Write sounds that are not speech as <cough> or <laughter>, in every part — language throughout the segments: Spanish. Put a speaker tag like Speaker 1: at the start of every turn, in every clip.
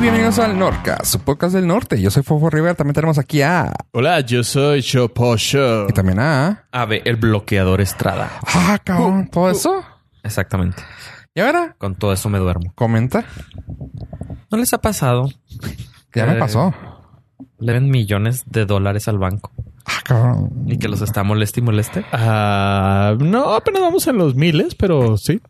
Speaker 1: Bienvenidos al Norca, su podcast del norte. Yo soy Fofo River. También tenemos aquí a.
Speaker 2: Hola, yo soy Choposho.
Speaker 1: Y también a.
Speaker 3: A ver, el bloqueador Estrada.
Speaker 1: Ah, cabrón. Todo eso.
Speaker 3: Exactamente.
Speaker 1: Y ahora,
Speaker 3: Con todo eso me duermo.
Speaker 1: comenta.
Speaker 3: ¿No les ha pasado?
Speaker 1: Ya me
Speaker 3: Eh.
Speaker 1: pasó.
Speaker 3: Le ven millones de dólares al banco
Speaker 1: Ah, cabrón.
Speaker 3: y que los está moleste y moleste.
Speaker 2: Ah, no, apenas vamos en los miles, pero sí.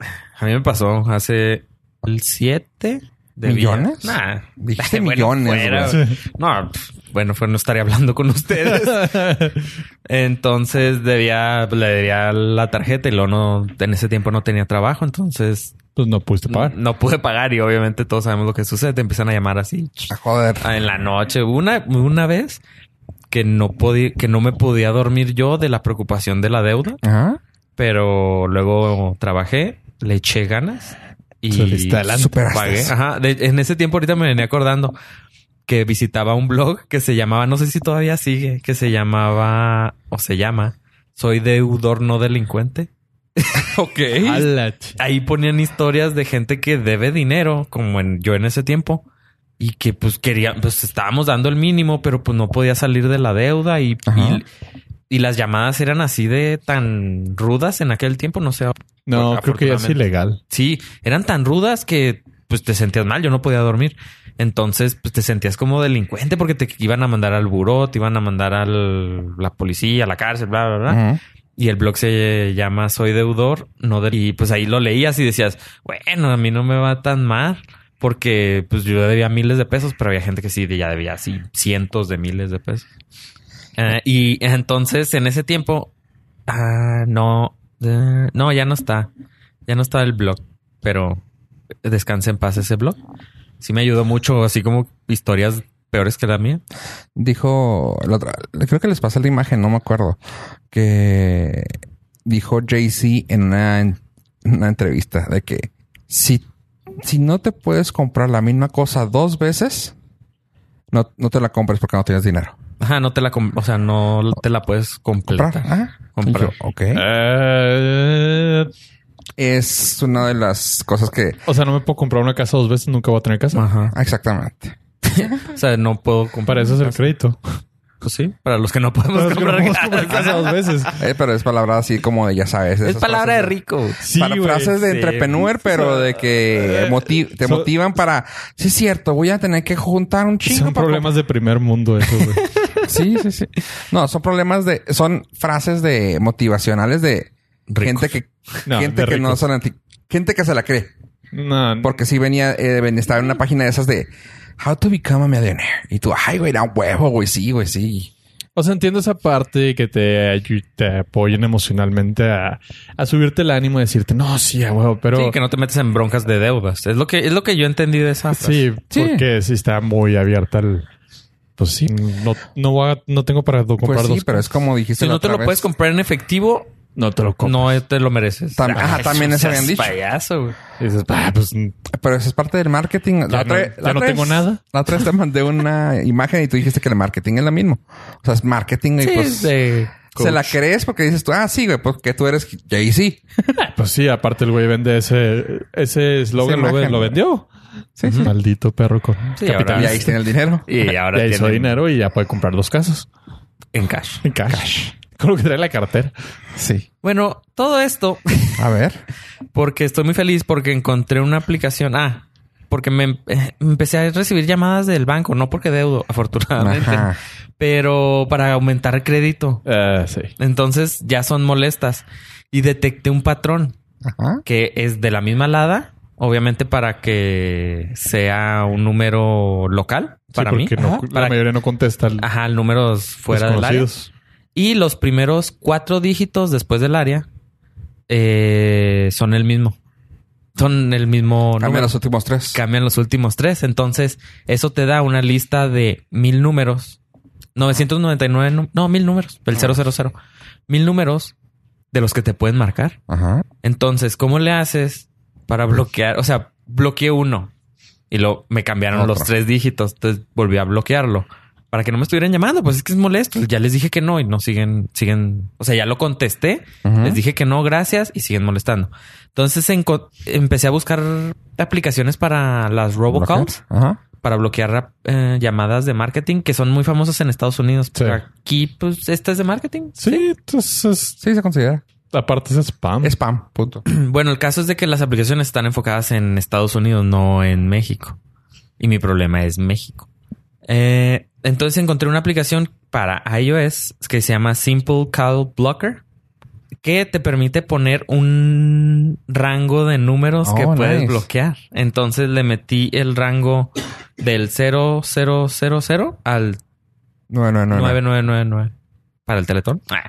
Speaker 3: A mí me pasó hace el 7 de
Speaker 1: ¿Millones?
Speaker 3: día- Nah.
Speaker 1: Dijiste
Speaker 3: Bueno,
Speaker 1: millones,
Speaker 3: fuera,
Speaker 1: güey.
Speaker 3: güey. No, pf, bueno, fue no estaría hablando
Speaker 2: <laughs>
Speaker 3: con ustedes. Entonces debía, le debía la tarjeta y luego no, en ese tiempo no tenía trabajo, entonces
Speaker 2: Pues no pudiste
Speaker 3: no,
Speaker 2: pagar.
Speaker 3: no pude pagar y obviamente todos sabemos lo que sucede. Te empiezan a llamar así.
Speaker 1: Ah, joder.
Speaker 3: Ah, en la noche. Una, una vez que no podía, que no me podía dormir yo de la preocupación de la deuda,
Speaker 1: Ajá.
Speaker 3: pero luego trabajé, le eché ganas y
Speaker 2: Saliste adelante.
Speaker 1: Superaste
Speaker 3: pagué.
Speaker 1: eso.
Speaker 3: Ajá. De- en ese tiempo ahorita me venía acordando que visitaba un blog que se llamaba, no sé si todavía sigue, que se llamaba o se llama Soy deudor no
Speaker 1: <laughs>
Speaker 3: delincuente. ok.
Speaker 2: Ala, ch-
Speaker 3: Ahí ponían historias de gente que debe dinero, como en, yo en ese tiempo, y que pues quería, pues estábamos dando el mínimo, pero pues no podía salir de la deuda y,
Speaker 1: Ajá.
Speaker 3: y, y las llamadas eran así de tan rudas en aquel tiempo, no sé.
Speaker 2: No,
Speaker 3: Pues,
Speaker 2: creo que ya es
Speaker 3: afortunadamente.
Speaker 2: ilegal.
Speaker 3: Sí, eran tan rudas que pues te sentías mal, yo no podía dormir. Entonces, pues te sentías como delincuente porque te iban a mandar al buró, te iban a mandar a la policía, a la cárcel, bla, bla, bla.
Speaker 1: Ajá.
Speaker 3: Y el blog se llama Soy deudor, no del- y pues ahí lo leías y decías, bueno, a mí no me va tan mal porque pues yo debía miles de pesos, pero había gente que sí ya debía así cientos de miles de pesos. Eh, y entonces en ese tiempo ah, no eh, no ya no está. Ya no está el blog, pero descanse en paz ese blog. Sí me ayudó mucho, así como historias peores que la mía.
Speaker 1: dijo la otra- creo que les pasé la imagen, no me acuerdo, que dijo Jay-Z en una, en una entrevista de que si, si no te puedes comprar la misma cosa dos veces, no, no te la compres porque no tienes dinero.
Speaker 3: Ajá, no te la, com- o sea, no te la puedes completar.
Speaker 1: Comprar. ah,
Speaker 3: Comprar.
Speaker 1: Yo, ok.
Speaker 2: Eh,
Speaker 1: Es una de las cosas que.
Speaker 2: o sea, no me puedo comprar una casa dos veces, nunca voy a tener casa.
Speaker 3: Ajá.
Speaker 1: ah, Exactamente.
Speaker 3: O sea, no puedo comprar.
Speaker 2: Para eso es el crédito.
Speaker 3: Pues sí, para los que no podemos
Speaker 2: Para los que no
Speaker 3: comprar.
Speaker 1: <laughs>
Speaker 2: podemos
Speaker 3: casa.
Speaker 2: comprar casa dos veces.
Speaker 1: Eh, pero es palabra así como de ya sabes.
Speaker 3: Es
Speaker 1: esas
Speaker 3: palabra de
Speaker 1: frases
Speaker 3: rico.
Speaker 2: Sí, eh,
Speaker 1: para
Speaker 2: güey.
Speaker 1: frases de
Speaker 3: sí.
Speaker 1: entrepreneur, pero de que moti- te
Speaker 2: so-
Speaker 1: motivan para. Sí, es cierto, voy a tener que juntar un chingo.
Speaker 2: Son
Speaker 1: para
Speaker 2: problemas de primer mundo
Speaker 3: <laughs>
Speaker 2: eso, güey.
Speaker 1: comp- <laughs> Sí, sí, sí. No, son problemas de. Son frases de motivacionales de
Speaker 3: Ricos.
Speaker 1: gente que.
Speaker 2: No,
Speaker 1: gente
Speaker 2: de
Speaker 1: que no
Speaker 2: ricos. Mm.
Speaker 1: son anti. Gente que se la cree.
Speaker 2: No, no.
Speaker 1: Porque sí venía. Eh, ven- estaba en una página de esas de. How to become a millionaire. Y tú, ay, güey, da un huevo, güey, sí, güey, sí.
Speaker 2: <laughs> O sea, entiendo esa parte que te, ayu- te apoyen emocionalmente a, a subirte el ánimo y decirte, no, sí, a huevo, pero...
Speaker 3: Sí, que no te metes en broncas de deudas. Es lo que es lo que yo entendí de esa. frase.
Speaker 2: Sí,
Speaker 1: Sí.
Speaker 2: porque sí está muy abierta el. Pues sí, no, no, voy a- no tengo para do- comprar
Speaker 1: Pues sí,
Speaker 2: dos.
Speaker 1: pero es como dijiste.
Speaker 3: Si
Speaker 1: la
Speaker 3: no te
Speaker 1: otra
Speaker 3: lo
Speaker 1: vez.
Speaker 3: puedes comprar en efectivo,
Speaker 2: No te lo compro.
Speaker 3: no te lo mereces.
Speaker 1: Tam- ajá, también eso habían
Speaker 3: seas
Speaker 1: dicho.
Speaker 3: payaso, güey.
Speaker 2: Y dices, "Ah, pues
Speaker 1: Pero eso es parte del marketing.
Speaker 2: Ya no-
Speaker 1: otra-
Speaker 2: ya
Speaker 1: la
Speaker 2: no
Speaker 1: otra
Speaker 2: tengo
Speaker 1: vez-
Speaker 2: nada.
Speaker 1: <laughs> La otra vez te mandé una imagen y tú dijiste que el marketing es lo mismo. O sea, es marketing y
Speaker 3: Sí,
Speaker 1: pues
Speaker 3: de
Speaker 1: se la
Speaker 3: coach.
Speaker 1: crees porque dices tú, ah, sí, güey, porque tú eres Jay-Z.
Speaker 2: Pues sí, aparte el güey vende ese ese eslogan,
Speaker 1: Esa
Speaker 2: lo, ve-
Speaker 1: imagen.
Speaker 2: lo vendió.
Speaker 1: Sí, sí.
Speaker 2: Maldito perro con
Speaker 3: Sí,
Speaker 1: Y
Speaker 2: capital.
Speaker 3: ahora-
Speaker 1: ahí tiene el dinero.
Speaker 3: <laughs> Y ahora
Speaker 2: Ya hizo
Speaker 3: tiene
Speaker 2: dinero y ya puede comprar dos casas
Speaker 3: en cash.
Speaker 2: en cash. Con lo que trae la cartera.
Speaker 1: Sí.
Speaker 3: Bueno, todo esto <laughs>
Speaker 1: A ver.
Speaker 3: porque estoy muy feliz porque encontré una aplicación. Ah, porque me em- empecé a recibir llamadas del banco, no porque deudo, afortunadamente,
Speaker 1: Ajá.
Speaker 3: pero para aumentar el crédito.
Speaker 2: Ah, sí.
Speaker 3: Entonces ya son molestas. Y detecté un patrón
Speaker 1: Ajá.
Speaker 3: que es de la misma alada, obviamente para que sea un número local
Speaker 2: Sí,
Speaker 3: para mí.
Speaker 2: porque no-
Speaker 3: Ajá.
Speaker 2: la
Speaker 3: Para-
Speaker 2: mayoría no contesta el-
Speaker 3: ajá, el número es fuera del área.
Speaker 2: desconocidos.
Speaker 3: Y los primeros cuatro dígitos después del área eh, son el mismo. Son el mismo
Speaker 1: Cambia
Speaker 3: número.
Speaker 1: los últimos tres.
Speaker 3: Cambian los últimos tres. Entonces, eso te da una lista de mil números. 999, nu- no, mil números. El 000. Mil números de los que te pueden marcar.
Speaker 1: Ajá.
Speaker 3: Entonces, ¿cómo le haces para bloquear? O sea, bloqueé uno y lo me cambiaron
Speaker 1: Otro.
Speaker 3: los tres dígitos. Entonces volví a bloquearlo para que no me estuvieran llamando. Pues es que es molesto. Ya les dije que no y no siguen, siguen. O sea, ya lo contesté.
Speaker 1: Ujú.
Speaker 3: Les dije que no, gracias y siguen molestando. Entonces enco- empecé a buscar aplicaciones para las robocalls
Speaker 1: Ajá.
Speaker 4: para bloquear rap- eh, llamadas de marketing que son muy famosas en Estados Unidos. Pero
Speaker 2: Sí.
Speaker 4: aquí, pues, esta es de marketing. <clears throat>
Speaker 2: Sí, entonces
Speaker 1: Sí, se considera.
Speaker 2: aparte es spam.
Speaker 1: Spam, punto.
Speaker 4: Bueno, el caso es de que las aplicaciones están enfocadas en Estados Unidos, no en México. Y mi problema es México. Eh, entonces encontré una aplicación para iOS que se llama Simple Call Blocker, que te permite poner un rango de números que
Speaker 1: Oh,
Speaker 4: puedes
Speaker 1: nice.
Speaker 4: bloquear. Entonces le metí el rango del 0000 al
Speaker 1: No, no, no. no.
Speaker 4: 9999 para el teletón. Ah.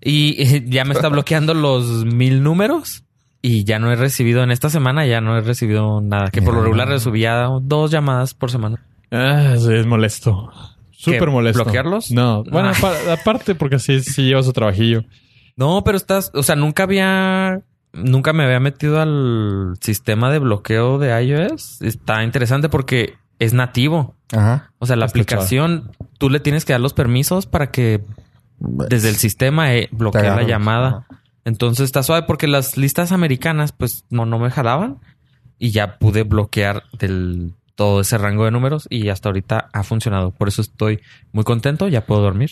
Speaker 4: Y eh, ya me está bloqueando los mil números y ya no he recibido en esta semana, ya no he recibido nada. Que por lo
Speaker 1: Ya.
Speaker 4: regular recibía dos llamadas por semana.
Speaker 2: Ah, sí, es molesto. Súper molesto.
Speaker 4: ¿Bloquearlos?
Speaker 2: No. Bueno,
Speaker 4: Ah.
Speaker 2: apa- aparte porque sí, sí lleva su trabajillo.
Speaker 4: No, pero estás, o sea, nunca había, nunca me había metido al sistema de bloqueo de iOS. Está interesante porque es nativo.
Speaker 1: Ajá.
Speaker 4: O sea, la
Speaker 2: Está
Speaker 4: aplicación, tú le tienes que dar los permisos para que desde el sistema eh, bloquee la
Speaker 1: agarra.
Speaker 4: llamada. Entonces está suave porque las listas americanas pues no, no me jalaban y ya pude bloquear del todo ese rango de números y hasta ahorita ha funcionado. Por eso estoy muy contento, ya puedo dormir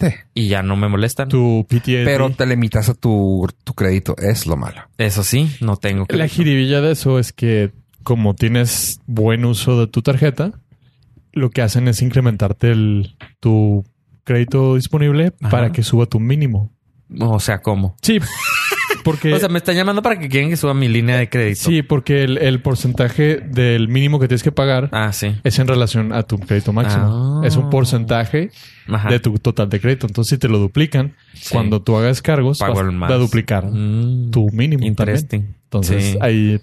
Speaker 1: Sí.
Speaker 4: y ya no me molestan.
Speaker 2: Tu PTSD.
Speaker 1: Pero te limitas a tu, tu crédito. Es lo malo.
Speaker 4: Eso sí, no tengo que...
Speaker 2: La jiribilla de eso es que como tienes buen uso de tu tarjeta, lo que hacen es incrementarte el, tu crédito disponible
Speaker 4: Ajá.
Speaker 2: para que suba tu mínimo.
Speaker 4: O sea, ¿cómo?
Speaker 2: Sí, porque
Speaker 4: O sea, me están llamando para que quieren que suba mi línea de crédito.
Speaker 2: Eh, sí, porque el, el porcentaje del mínimo que tienes que pagar
Speaker 4: Ah, sí.
Speaker 2: es en relación a tu crédito máximo.
Speaker 4: Ah.
Speaker 2: Es un porcentaje
Speaker 4: Ajá.
Speaker 2: de tu total de crédito. Entonces, si te lo duplican,
Speaker 4: Sí.
Speaker 2: cuando tú hagas cargos,
Speaker 4: Pago
Speaker 2: vas
Speaker 4: el más.
Speaker 2: a duplicar
Speaker 4: Mm.
Speaker 2: tu mínimo también.
Speaker 4: Interesting.
Speaker 2: Entonces,
Speaker 4: Sí.
Speaker 2: ahí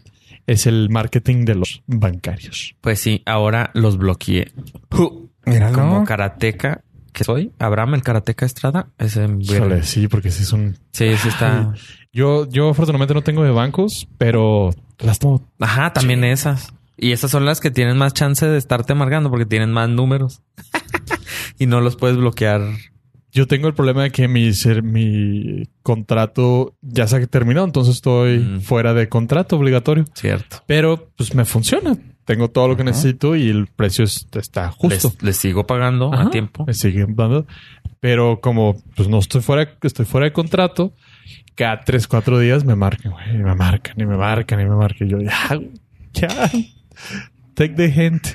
Speaker 2: es el marketing de los bancarios.
Speaker 4: Pues sí, ahora los bloqueé. Ju.
Speaker 1: Míralo.
Speaker 4: Como karateca que soy, Abraham, el karateca Estrada, ese
Speaker 2: Híjole, sí, porque sí son.
Speaker 4: Sí, sí está.
Speaker 2: Yo, yo afortunadamente no tengo de bancos, pero las tomo.
Speaker 4: Ajá, también esas. Y esas son las que tienen más chance de estarte amargando porque tienen más números. <laughs> y no los puedes bloquear.
Speaker 2: Yo tengo el problema de que mi, ser- mi contrato ya se ha terminado, entonces estoy
Speaker 4: Mm.
Speaker 2: fuera de contrato obligatorio.
Speaker 4: Cierto.
Speaker 2: Pero pues me funciona. Tengo todo lo que
Speaker 1: Ajá.
Speaker 2: necesito y el precio es- está justo.
Speaker 4: Les, les sigo pagando
Speaker 2: Ajá.
Speaker 4: a tiempo.
Speaker 2: Me siguen dando. Pero como pues no estoy fuera, estoy fuera de contrato, cada tres, cuatro días me marcan, güey, me marcan y me marcan y me marcan. Y Yo ya, güey, ya. Take the hint.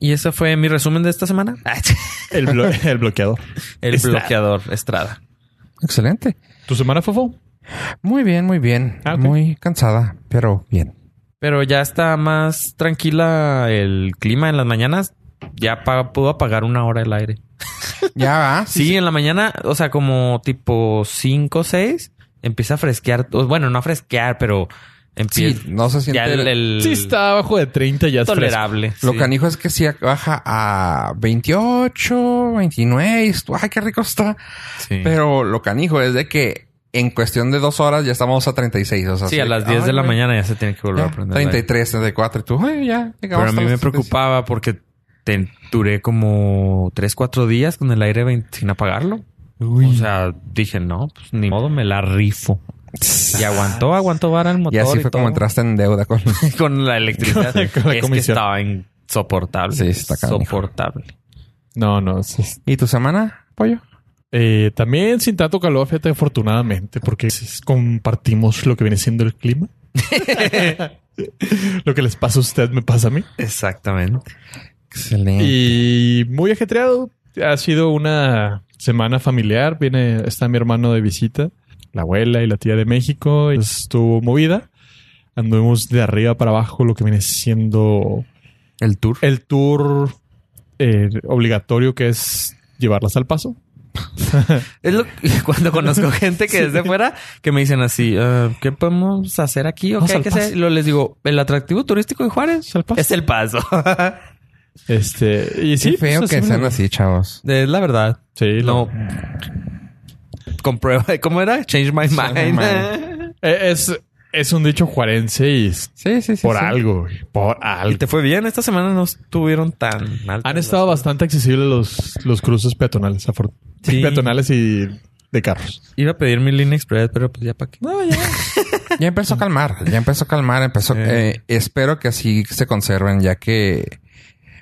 Speaker 4: Y ese fue mi resumen de esta <laughs> semana.
Speaker 2: El, blo- <laughs> el bloqueador.
Speaker 4: el
Speaker 2: Estrada.
Speaker 4: bloqueador Estrada.
Speaker 1: Excelente.
Speaker 2: ¿Tu semana, Fofo?
Speaker 1: Muy bien, muy bien.
Speaker 2: Ah, ok.
Speaker 1: Muy cansada, pero bien.
Speaker 4: Pero ya está más tranquila el clima en las mañanas. Ya pa- pudo apagar una hora el aire.
Speaker 1: Ya va.
Speaker 4: <laughs> Sí, en la mañana, o sea, como tipo 5 o 6, empieza a fresquear. O, Bueno, no a fresquear, pero
Speaker 1: Sí,
Speaker 4: empieza.
Speaker 1: no se siente.
Speaker 4: ya el, el-
Speaker 2: Sí, está abajo de 30, ya es fresco.
Speaker 4: tolerable.
Speaker 1: Lo
Speaker 4: sí.
Speaker 1: canijo es que si baja a 28, 29. y tú, Ay, qué rico está.
Speaker 4: Sí.
Speaker 1: Pero lo canijo es de que en cuestión de dos horas ya estamos a 36. O sea,
Speaker 4: Sí, a
Speaker 1: sí,
Speaker 4: las 10
Speaker 1: ay,
Speaker 4: de la
Speaker 1: güey,
Speaker 4: mañana ya se tiene que volver
Speaker 1: ya,
Speaker 4: a prender. la-
Speaker 1: 33, 34. Y tú, ay, ya. este
Speaker 4: Pero a mí me preocupaba porque te- duré como 3, 4 días con el aire 20 sin apagarlo. O sea, dije, no, pues ni modo, me la rifo.
Speaker 1: <laughs>
Speaker 4: Y aguantó, aguantó vara el motor.
Speaker 1: Y así
Speaker 4: y
Speaker 1: fue como
Speaker 4: todo.
Speaker 1: entraste en deuda
Speaker 4: <laughs>
Speaker 1: con.
Speaker 4: con la electricidad.
Speaker 2: Con la- con la
Speaker 4: es que
Speaker 2: comisión.
Speaker 4: estaba insoportable.
Speaker 1: Sí, está canijo.
Speaker 4: Soportable.
Speaker 2: No, no. sí.
Speaker 1: ¿Y tu semana, pollo?
Speaker 2: Eh, también sin tanto calor, fíjate, afortunadamente, porque s- compartimos lo que viene siendo el clima. <laughs> lo que les pasa a usted me pasa a mí.
Speaker 4: Exactamente.
Speaker 1: Excelente.
Speaker 2: Y muy ajetreado. Ha sido una semana familiar. Viene, está mi hermano de visita, la abuela y la tía de México. y Estuvo movida. Anduvimos de arriba para abajo, lo que viene siendo
Speaker 1: el tour.
Speaker 2: el tour eh, obligatorio que es llevarlas al paso.
Speaker 4: Es lo <laughs> cuando conozco gente que es de fuera que me dicen así, "Ah, ¿qué podemos hacer aquí? ¿O
Speaker 2: Vamos
Speaker 4: qué hay
Speaker 2: al
Speaker 4: que
Speaker 2: Paso.
Speaker 4: hacer? Y luego les digo, el atractivo turístico de Juárez
Speaker 2: Es al paso.
Speaker 4: es el paso.
Speaker 2: Este, y sí,
Speaker 1: Qué feo
Speaker 2: pues,
Speaker 1: que
Speaker 2: así me
Speaker 1: sean
Speaker 2: lo-
Speaker 1: así, chavos.
Speaker 4: es la verdad.
Speaker 2: Sí, no.
Speaker 4: No. Comprueba. ¿Cómo era? Change my mind.
Speaker 1: Change my
Speaker 2: Eh, Es, es un dicho juarense y es
Speaker 1: Sí, sí, sí.
Speaker 2: por
Speaker 1: sí.
Speaker 2: algo, güey, por
Speaker 4: <laughs> Y
Speaker 2: algo.
Speaker 4: te fue bien. Esta semana no estuvieron tan mal.
Speaker 2: Han estado bastante accesibles los, los cruces peatonales, afor-
Speaker 4: Sí.
Speaker 2: <laughs> peatonales y de carros.
Speaker 4: Iba a pedir mi línea express, pero pues ya para qué.
Speaker 2: No, ya.
Speaker 1: Ya empezó a calmar, ya empezó a calmar, empezó. eh, espero que así se conserven, ya que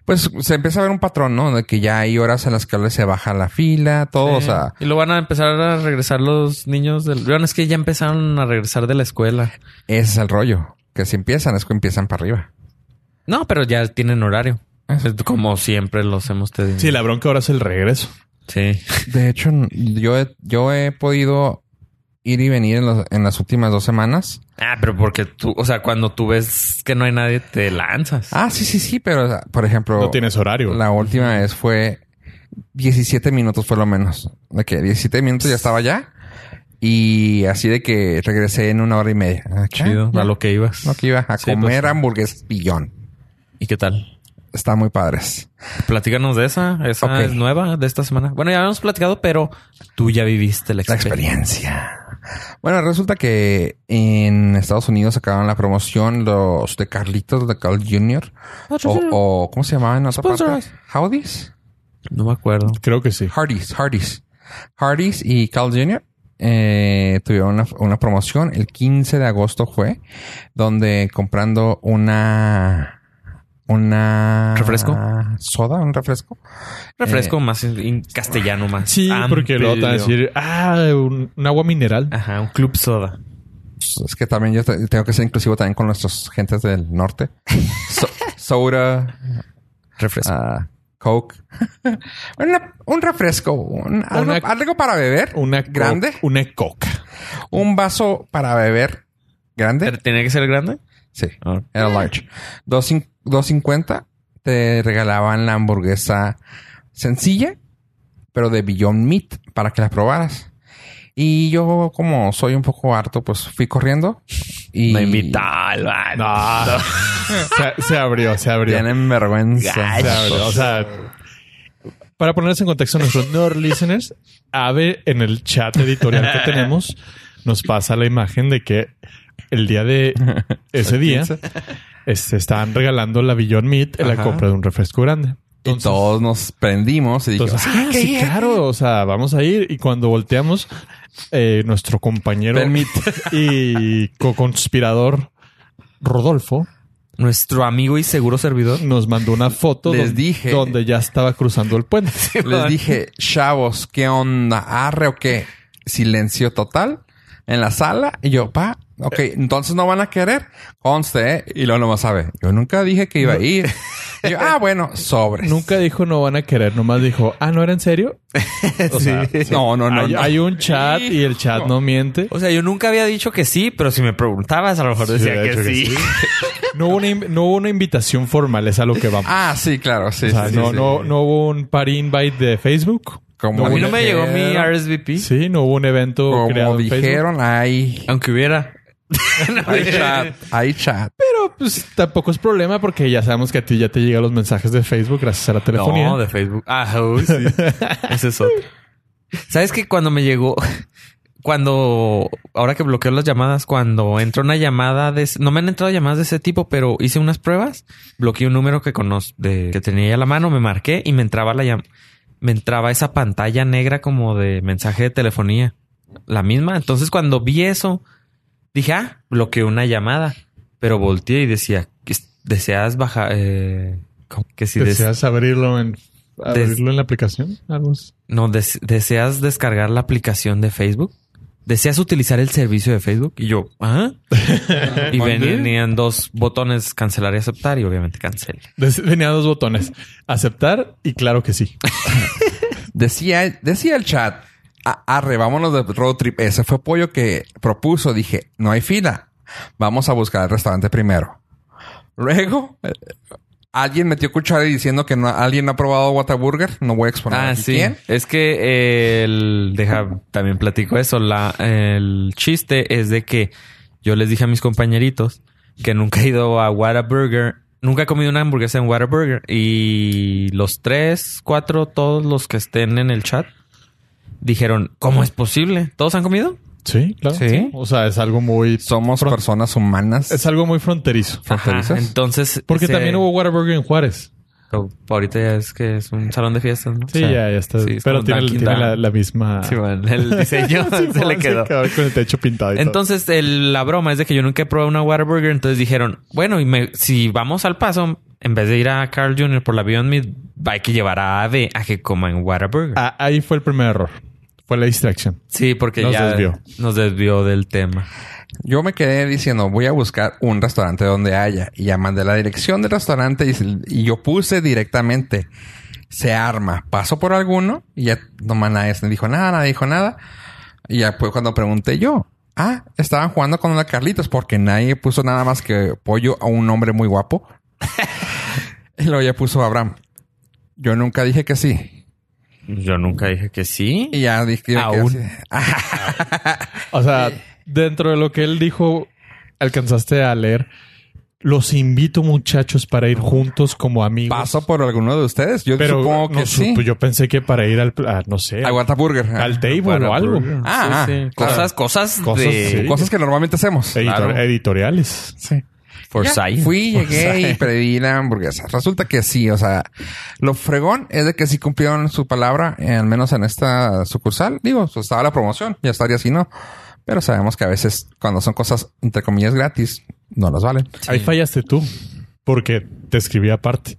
Speaker 1: pues se empieza a ver un patrón, ¿no? De que ya hay horas en las que se baja la fila, todo, o
Speaker 4: Sí.
Speaker 1: sea,
Speaker 4: Y lo van a empezar a regresar los niños del. Bueno, es que ya empezaron a regresar de la escuela.
Speaker 1: ese es el rollo. Que si empiezan, es que empiezan para arriba.
Speaker 4: No, pero ya tienen horario. Es Como siempre los hemos tenido.
Speaker 2: Sí, la bronca ahora es el regreso.
Speaker 4: Sí.
Speaker 1: De hecho, yo he, yo he podido ir y venir en, los- en las últimas dos semanas.
Speaker 4: Ah, pero porque tú, o sea, cuando tú ves que no hay nadie, te lanzas.
Speaker 1: Ah, sí, sí, sí, pero o sea, por ejemplo,
Speaker 2: No tienes horario.
Speaker 1: la última vez fue 17 minutos, fue lo menos. De que 17 minutos ya estaba allá y así de que regresé en una hora y media. Ah,
Speaker 4: Chido,
Speaker 1: ya.
Speaker 4: a lo que ibas.
Speaker 1: No, que iba a
Speaker 4: Sí,
Speaker 1: comer
Speaker 4: pues.
Speaker 1: hamburguesas billón.
Speaker 4: ¿Y qué tal?
Speaker 1: Está muy padres.
Speaker 4: Platícanos de esa. Esa
Speaker 1: Ok.
Speaker 4: es nueva de esta semana. Bueno, ya habíamos platicado, pero tú ya viviste la
Speaker 1: La
Speaker 4: experiencia.
Speaker 1: experiencia. Bueno, resulta que en Estados Unidos sacaron la promoción los de Carlitos de Carl Jr.
Speaker 4: Oh,
Speaker 1: O, o- ¿cómo se llamaba en otra
Speaker 4: Sponsor
Speaker 1: parte?
Speaker 4: us.
Speaker 1: Howdies.
Speaker 4: oh, No me acuerdo.
Speaker 2: Creo que sí.
Speaker 1: Hardys, Hardys. Hardys y Carl Jr. eh, tuvieron una, una promoción el 15 de agosto fue donde comprando una una
Speaker 4: ¿Refresco?
Speaker 1: soda un refresco
Speaker 4: Refresco más en, en castellano más.
Speaker 2: Sí, porque lo van a
Speaker 4: amplio. Ah,
Speaker 2: decir, ah, un, un agua mineral.
Speaker 4: Ajá, un club soda.
Speaker 1: Pues, es que también yo te- tengo que ser inclusivo también con nuestros gentes del norte So- soda
Speaker 4: Refresco.
Speaker 1: ah, coke Una- un refresco un- algo,
Speaker 2: Una-
Speaker 1: algo para beber
Speaker 2: Una co-
Speaker 1: grande
Speaker 2: Una coca.
Speaker 1: un vaso para beber grande
Speaker 4: ¿Pero ¿Tenía que ser grande?
Speaker 1: Sí, era large. Dos cin- 2.50 te regalaban la hamburguesa sencilla, pero de Beyond Meat para que la probaras. Y yo, como soy un poco harto, pues fui corriendo y.
Speaker 4: No invitaba al vato.
Speaker 2: No. <laughs> se, se abrió, se abrió.
Speaker 1: Tienen vergüenza.
Speaker 2: Se abrió, O sea, para ponerse en contexto, nuestros Nord listeners, Ave en el chat editorial que tenemos nos pasa la imagen de que el día
Speaker 1: <laughs>
Speaker 2: de ese día se estaban regalando la Beyond Meat en la
Speaker 1: Ajá.
Speaker 2: compra de un refresco grande.
Speaker 1: Y todos nos prendimos y dije,
Speaker 2: Entonces,
Speaker 1: "Ah,
Speaker 2: ah,
Speaker 1: qué
Speaker 2: sí,
Speaker 1: bien".
Speaker 2: claro, o sea, vamos a ir. Y cuando volteamos, eh, nuestro compañero
Speaker 1: Permite.
Speaker 2: y co-conspirador Rodolfo
Speaker 4: Nuestro amigo y seguro servidor.
Speaker 2: nos mandó una foto
Speaker 1: Les
Speaker 2: don-
Speaker 1: dije.
Speaker 2: donde ya estaba cruzando el puente.
Speaker 1: Les dije, chavos, ¿qué onda? ¿Arre o qué? Silencio total en la sala. Y yo, pa, ok, entonces no van a querer. Conste, ¿eh? Y luego nomás sabe. Yo nunca dije que iba a ir. Y yo, ah, bueno, sobres.
Speaker 2: Nunca dijo no van a querer, nomás dijo, ah, ¿no era en serio? O sea,
Speaker 1: No, no, no.
Speaker 2: hay,
Speaker 1: no.
Speaker 2: hay un chat y el chat no miente.
Speaker 4: O sea, yo nunca había dicho que sí, pero si me preguntabas, a lo mejor
Speaker 2: Sí,
Speaker 4: decía
Speaker 2: hubiera
Speaker 4: que,
Speaker 2: dicho que
Speaker 4: <laughs> sí.
Speaker 2: No hubo una, in- no hubo una invitación formal, es a lo que vamos.
Speaker 1: Ah, sí, claro, sí.
Speaker 2: O sea,
Speaker 1: sí, sí,
Speaker 2: no,
Speaker 1: sí.
Speaker 2: no, no hubo un party invite de Facebook.
Speaker 1: Como
Speaker 2: no
Speaker 4: A mí
Speaker 2: hubo un-
Speaker 4: no me llegó mi
Speaker 1: Dijeron.
Speaker 4: RSVP.
Speaker 2: Sí, no hubo un evento
Speaker 1: Como
Speaker 2: creado en Facebook.
Speaker 1: dijeron, hay,
Speaker 4: Aunque hubiera.
Speaker 1: hay chat, hay chat.
Speaker 2: Pero pues tampoco es problema porque ya sabemos que a ti ya te llegan los mensajes de Facebook gracias a la telefonía.
Speaker 4: No, de Facebook. Ah, <laughs> uy, sí. Ese es otro. ¿Sabes que cuando me llegó, <laughs> cuando, ahora que bloqueo las llamadas, cuando entró una llamada de, ese- no me han entrado llamadas de ese tipo, pero hice unas pruebas, bloqueé un número que conoz, de, que tenía a la mano, me marqué y me entraba la llam- me entraba esa pantalla negra como de mensaje de telefonía. La misma. Entonces cuando vi eso, dije, ah, bloqueé una llamada, pero volteé y decía, deseas bajar, eh, ¿cómo? que si des-
Speaker 2: ¿Deseas abrirlo en abrirlo en la aplicación? Algo así.
Speaker 4: no, des- deseas descargar la aplicación de Facebook. Deseas utilizar el servicio de Facebook. Y yo, ¿ah? y
Speaker 1: ¿Mande?
Speaker 4: venían dos botones cancelar y aceptar. Y obviamente cancel.
Speaker 2: Des- Venía dos botones. Aceptar y claro que sí.
Speaker 1: Decía, decía el chat, "A- arre, vámonos de road trip. Ese fue Pollo que propuso. Dije, no hay fila. Vamos a buscar el restaurante primero. Luego, eh, alguien metió cuchara diciendo que no, alguien no ha probado Whataburger. No voy a exponer.
Speaker 4: Ah,
Speaker 1: aquí
Speaker 4: sí.
Speaker 1: quién.
Speaker 4: Es que eh, el. Deja, también platico eso. La, el chiste es de que yo les dije a mis compañeritos que nunca he ido a Whataburger. Nunca he comido una hamburguesa en Whataburger. Y los tres, cuatro, todos los que estén en el chat dijeron: ¿Cómo es posible? ¿Todos han comido?
Speaker 2: Sí, claro.
Speaker 4: Sí.
Speaker 2: O sea, es algo muy
Speaker 1: Somos personas humanas.
Speaker 2: es algo muy fronterizo.
Speaker 1: ¿Fronterizas?
Speaker 4: entonces.
Speaker 2: Porque
Speaker 4: ese-
Speaker 2: también hubo Whataburger en Juárez.
Speaker 4: Pero ahorita ya es que es un salón de fiestas, ¿no? O
Speaker 2: Sí,
Speaker 4: sea,
Speaker 2: ya, ya está.
Speaker 4: sí, es
Speaker 2: Pero
Speaker 4: como
Speaker 2: tiene,
Speaker 4: Dunkin'
Speaker 2: tiene la,
Speaker 4: Donuts.
Speaker 2: la
Speaker 4: <laughs>
Speaker 2: misma. <laughs>
Speaker 4: Sí, bueno, el diseño <laughs>
Speaker 2: Sí,
Speaker 4: se le quedó.
Speaker 2: bueno, con el techo pintado. y todo.
Speaker 4: Entonces, el- la broma es de que yo nunca he probado una Whataburger. Entonces dijeron, bueno, y me- si vamos al paso, en vez de ir a Carl Jr. por la Beyond Meat, hay que llevar a Ave a que coman Whataburger.
Speaker 2: Ah, ahí fue el primer error. Fue la distracción.
Speaker 4: sí, porque
Speaker 2: nos
Speaker 4: ya
Speaker 2: desvió.
Speaker 4: nos desvió del tema.
Speaker 1: Yo me quedé diciendo, voy a buscar un restaurante donde haya. Y ya mandé la dirección del restaurante y, y yo puse directamente, se arma. Paso por alguno y ya no más nadie se dijo nada, nadie dijo nada. Y ya fue cuando pregunté yo. Ah, estaban jugando con la Carlitos porque nadie puso nada más que pollo a un hombre muy guapo. <laughs> y luego ya puso Abraham. Yo nunca dije que sí.
Speaker 4: Yo nunca dije que sí.
Speaker 1: Y ya dije que
Speaker 4: Aún.
Speaker 1: así. Ah,
Speaker 2: O sea, dentro de lo que él dijo, alcanzaste a leer. Los invito, muchachos, para ir juntos como amigos.
Speaker 1: paso por alguno de ustedes. Yo
Speaker 2: Pero
Speaker 1: supongo que
Speaker 2: no
Speaker 1: sí.
Speaker 2: supe, yo pensé que para ir al, pl- a, no sé,
Speaker 1: Al
Speaker 2: al,
Speaker 1: Whataburger.
Speaker 2: table o algo.
Speaker 1: Ah,
Speaker 4: Sí, sí.
Speaker 1: ah, claro.
Speaker 4: Cosas, cosas,
Speaker 2: Cosas,
Speaker 4: de...
Speaker 2: sí.
Speaker 1: Cosas que normalmente hacemos.
Speaker 2: Editor-
Speaker 1: Claro.
Speaker 2: Editoriales.
Speaker 1: Sí.
Speaker 4: For
Speaker 1: Ya
Speaker 4: science.
Speaker 1: Fui,
Speaker 2: For
Speaker 1: llegué y
Speaker 2: science.
Speaker 1: pedí la hamburguesa. Resulta que sí, o sea, lo fregón es de que sí cumplieron su palabra, eh, al menos en esta sucursal. Digo, pues, estaba la promoción, ya estaría si no. Pero sabemos que a veces cuando son cosas, entre comillas, gratis, no las valen.
Speaker 2: Ahí fallaste tú, porque te escribí
Speaker 4: <laughs>
Speaker 2: aparte.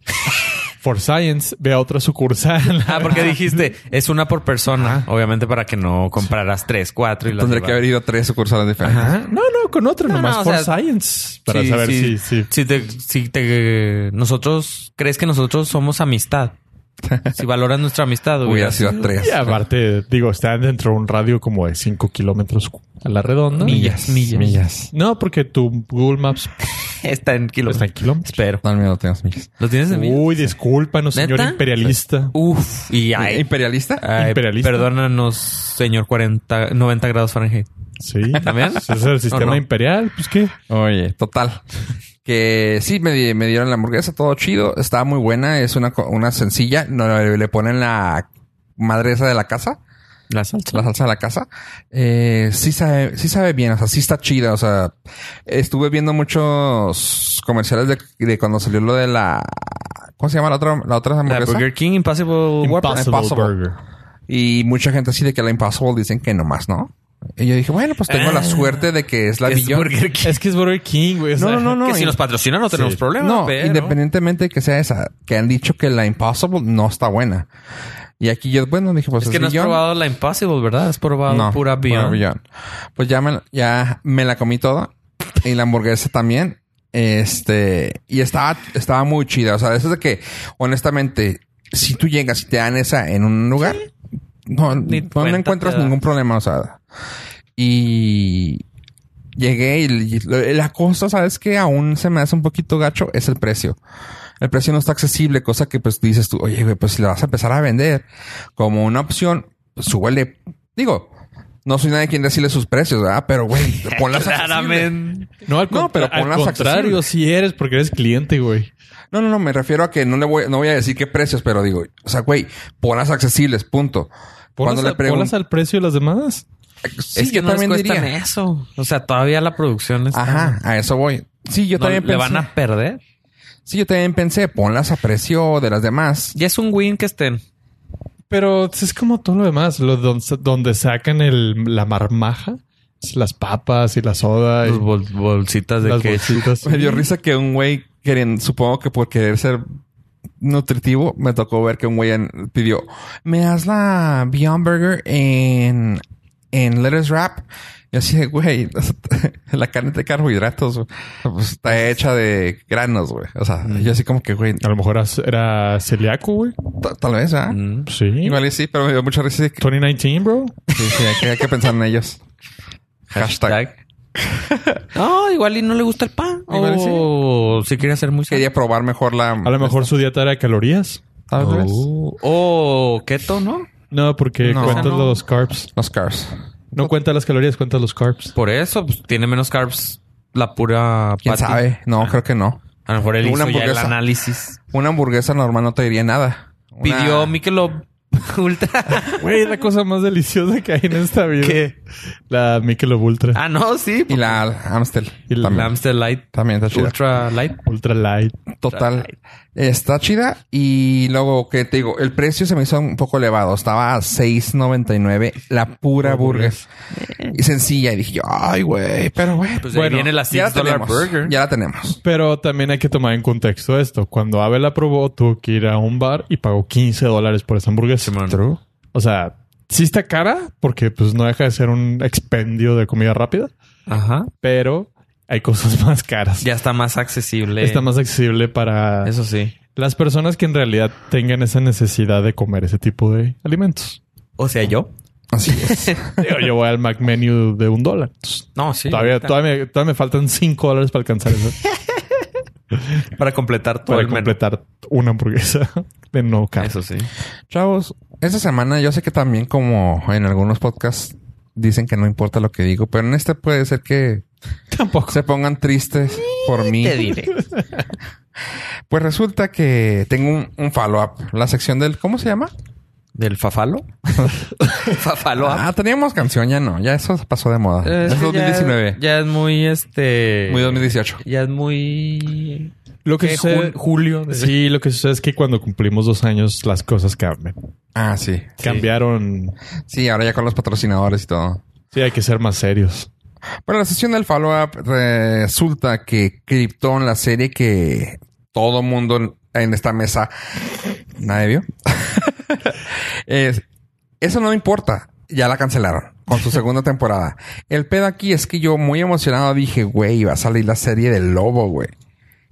Speaker 2: For Science, ve a otra sucursal.
Speaker 4: Ah, porque dijiste, es una por persona. Obviamente para que no compraras tres, cuatro y las
Speaker 1: Tendré que haber
Speaker 4: llevaras.
Speaker 1: ido a tres sucursales diferentes.
Speaker 2: Ajá. No, no, con otra
Speaker 4: No,
Speaker 2: nomás.
Speaker 4: no, o
Speaker 2: for
Speaker 4: sea,
Speaker 2: Science. Para
Speaker 4: Sí,
Speaker 2: saber
Speaker 4: sí.
Speaker 2: si, si
Speaker 4: Si te, si te, nosotros, crees que nosotros somos <laughs> amistad. Si valoras nuestra amistad,
Speaker 1: Hubiera
Speaker 4: hubieras
Speaker 1: sido a tres.
Speaker 2: Y aparte, digo, están dentro de un radio como de 5 kilómetros a la redonda.
Speaker 4: millas, millas.
Speaker 1: Millas.
Speaker 2: No, porque tu Google Maps
Speaker 4: Está en
Speaker 2: está
Speaker 4: kilómetros.
Speaker 2: en kilómetros.
Speaker 4: Espero.
Speaker 1: No, miedo, tengas millas.
Speaker 4: ¿Lo tienes en millas?
Speaker 2: Uy, discúlpanos, señor
Speaker 4: ¿Neta?
Speaker 2: imperialista.
Speaker 4: uh, Uf. Y
Speaker 1: eh.
Speaker 4: ay,
Speaker 1: ¿Imperialista?
Speaker 4: ay,
Speaker 2: imperialista.
Speaker 4: perdónanos, señor 40, 90 grados Fahrenheit.
Speaker 2: Sí.
Speaker 4: ¿También?
Speaker 2: Ese es el sistema
Speaker 1: no?
Speaker 2: imperial. Pues qué.
Speaker 1: Oye, total. Que sí, me, di- me dieron la hamburguesa, todo chido. Estaba muy buena. Es una, co- una sencilla. No, le, le ponen la madre esa de la casa,
Speaker 4: La salsa.
Speaker 1: la salsa de la casa. Eh, sí, sabe, sí sabe bien, o sea, sí está chida. O sea, estuve viendo muchos comerciales de, de cuando salió lo de la... ¿Cómo se llama la otra, la otra
Speaker 4: La
Speaker 1: hamburguesa?
Speaker 4: Burger King Impossible Whopper.
Speaker 2: Impossible,
Speaker 1: Impossible.
Speaker 2: Burger.
Speaker 1: Y mucha gente así de que la Impossible dicen que nomás, ¿no? Y yo dije, bueno, pues tengo la suerte de que es la
Speaker 4: Ah. Es
Speaker 1: Beyond.
Speaker 4: Burger King.
Speaker 2: Es que es Burger King, güey. o sea,
Speaker 1: No, no, no,
Speaker 4: que
Speaker 1: no.
Speaker 4: si
Speaker 1: y-
Speaker 4: nos patrocinan no tenemos
Speaker 2: Sí.
Speaker 4: problema.
Speaker 1: No,
Speaker 4: pero-
Speaker 1: independientemente de que sea esa, que han dicho que la Impossible no está buena. Y aquí yo, bueno, dije, pues
Speaker 4: Es que no has
Speaker 1: Beyond.
Speaker 4: probado la Impossible, ¿verdad? Has probado
Speaker 1: No,
Speaker 4: pura Beyond.
Speaker 1: Beyond. Pues ya me, ya me la comí toda y la hamburguesa también. Este, y estaba, estaba muy chida. O sea, eso es de que, honestamente, si tú llegas y te dan esa en un lugar, no,
Speaker 4: Ni
Speaker 1: no
Speaker 4: cuenta
Speaker 1: le
Speaker 4: te
Speaker 1: encuentras
Speaker 4: das.
Speaker 1: ningún problema. O sea, y llegué y, y lo- la cosa, ¿sabes que Aún se me hace un poquito gacho, es el precio. El precio no está accesible, cosa que pues dices tú, oye, güey, pues si la vas a empezar a vender como una opción, pues, súbele. Digo, no soy nadie quien decirle sus precios, ¿verdad? Pero,
Speaker 4: <laughs>
Speaker 1: güey, ponlas accesible.
Speaker 4: <laughs> Claramente.
Speaker 2: No, al,
Speaker 1: No,
Speaker 2: contra-
Speaker 1: pero
Speaker 2: al
Speaker 1: ponlas
Speaker 2: contrario,
Speaker 1: accesibles.
Speaker 2: si eres porque eres cliente, güey.
Speaker 1: No, no, no, me refiero a que no le voy, no voy a decir qué precios, pero digo, o sea, güey, ponlas accesibles, punto.
Speaker 2: Ponlas,
Speaker 1: Cuando le
Speaker 2: a- ponlas
Speaker 1: pregunto,
Speaker 2: al precio de las demás.
Speaker 4: es que no les cuestan eso. O sea, todavía la producción está...
Speaker 1: Ajá, a eso voy. Sí, yo
Speaker 4: No,
Speaker 1: también
Speaker 4: le
Speaker 1: pensé.
Speaker 4: van a perder.
Speaker 1: Sí, yo también pensé, ponlas a precio de las demás.
Speaker 4: Ya es un win que estén.
Speaker 2: Pero es como todo lo demás, lo don- donde sacan el, la marmaja, es las papas y la soda y
Speaker 4: Las bol- bolsitas de
Speaker 2: las
Speaker 4: que
Speaker 1: <laughs>
Speaker 2: bolsitas.
Speaker 1: Me dio risa que un güey, queren- supongo que por querer ser nutritivo, me tocó ver que un güey en- pidió, me das la Beyond Burger en, en Lettuce Wrap. Y así de, güey, <laughs> la carne de carbohidratos güey, pues, está hecha de granos, güey. O sea,
Speaker 2: Mm.
Speaker 1: yo así como que, güey,
Speaker 2: A lo mejor as- era celíaco, güey.
Speaker 1: ta- tal vez, ¿ah?
Speaker 4: Mm.
Speaker 2: Sí.
Speaker 1: Igual y sí, pero me dio mucha risa. y
Speaker 2: <laughs>
Speaker 1: que-
Speaker 2: 2019, bro.
Speaker 1: sí, sí, hay, que, hay que pensar en ellos. Hashtag. <laughs>
Speaker 4: No, igual y no le gusta el pan. Oh,
Speaker 1: Igual y sí.
Speaker 4: o si quiere hacer muy
Speaker 1: Quería probar mejor la...
Speaker 2: A lo mejor Oh. su dieta era calorías.
Speaker 1: Tal vez.
Speaker 4: O o Uh, oh, keto, ¿no?
Speaker 2: No, porque
Speaker 1: No.
Speaker 2: cuentas
Speaker 4: O sea, no.
Speaker 2: los carbs.
Speaker 1: Los cars.
Speaker 2: No cuentas las calorías, cuentas
Speaker 1: <laughs>
Speaker 2: los carbs.
Speaker 4: Por eso pues, tiene menos carbs la pura
Speaker 1: ¿Quién
Speaker 4: patty.
Speaker 1: sabe? No, creo que no.
Speaker 4: A lo mejor él
Speaker 1: Una
Speaker 4: hizo ya el
Speaker 1: hamburguesa.
Speaker 4: análisis.
Speaker 1: Una hamburguesa normal no te diría nada. Una-
Speaker 4: Pidió Michelob. <laughs>
Speaker 1: <laughs>
Speaker 4: Ultra.
Speaker 2: Güey, es la cosa más deliciosa que hay en esta vida.
Speaker 4: ¿Qué?
Speaker 2: La Michelob Ultra.
Speaker 4: Ah, no, sí.
Speaker 1: Y la Amstel.
Speaker 2: Y la
Speaker 1: también.
Speaker 4: La Amstel Light
Speaker 1: También está chida.
Speaker 4: Ultra Light.
Speaker 1: Ah.
Speaker 2: Ultra Light.
Speaker 1: Total. Está chida. Y luego, que te digo? El precio se me hizo un poco elevado. Estaba a 6.99 la pura burger. Y sencilla. Y dije yo, ay, güey. Pero, güey.
Speaker 4: Pues
Speaker 2: Bueno,
Speaker 4: ahí viene la
Speaker 1: ya la
Speaker 4: 6 dollar
Speaker 1: tenemos.
Speaker 4: burger.
Speaker 1: Ya la tenemos.
Speaker 2: Pero también hay que tomar en contexto esto. Cuando Abel aprobó, tuvo que ir a un bar y pagó 15 dólares por esa hamburguesa.
Speaker 4: Simón.
Speaker 1: True.
Speaker 2: O sea, sí está cara porque pues no deja de ser un expendio de comida rápida,
Speaker 4: Ajá.
Speaker 2: pero hay cosas <laughs> más caras.
Speaker 4: Ya está más accesible.
Speaker 2: Está más accesible para
Speaker 4: Eso sí.
Speaker 2: las personas que en realidad tengan esa necesidad de comer ese tipo de alimentos.
Speaker 4: O sea, yo.
Speaker 1: Así es.
Speaker 2: Yo, yo voy al Mac Menu de un dólar. Entonces,
Speaker 4: No, sí.
Speaker 2: todavía,
Speaker 4: ahorita.
Speaker 2: todavía, me, todavía me faltan 5 dólares para alcanzar eso.
Speaker 4: <laughs> Para completar todo
Speaker 2: para
Speaker 4: el menú.
Speaker 2: completar una hamburguesa <laughs> de no carne.
Speaker 4: Eso sí.
Speaker 1: Chavos, esta semana yo sé que también como en algunos podcasts dicen que no importa lo que digo, pero en este puede ser
Speaker 4: <laughs>
Speaker 1: que
Speaker 2: Tampoco.
Speaker 1: se pongan tristes por mí. <laughs> Pues resulta que tengo un, un follow-up. La sección del... ¿Cómo se llama?
Speaker 4: ¿Del fafalo? fafalo.
Speaker 1: Ah, teníamos canción. Ya no. Ya eso pasó de moda.
Speaker 4: Eh,
Speaker 1: es
Speaker 4: que
Speaker 1: 2019.
Speaker 4: Ya, ya es muy este.
Speaker 1: Muy 2018.
Speaker 4: Ya es muy.
Speaker 2: Lo que
Speaker 4: ¿Qué?
Speaker 2: sucede-
Speaker 4: Jun- julio.
Speaker 2: <laughs>
Speaker 4: de-
Speaker 2: Sí, lo que sucede es que cuando cumplimos dos años las cosas cambian.
Speaker 1: Ah, sí.
Speaker 2: Cambiaron.
Speaker 1: Sí, ahora ya con los patrocinadores y todo.
Speaker 2: Sí, hay que ser más serios.
Speaker 1: Bueno, la sesión del follow-up resulta que Krypton, la serie que todo mundo en esta mesa nadie vio, <laughs> es- eso no me importa. Ya la cancelaron con su segunda temporada. El pedo aquí es que yo muy emocionado dije, güey, va a salir la serie del lobo, güey.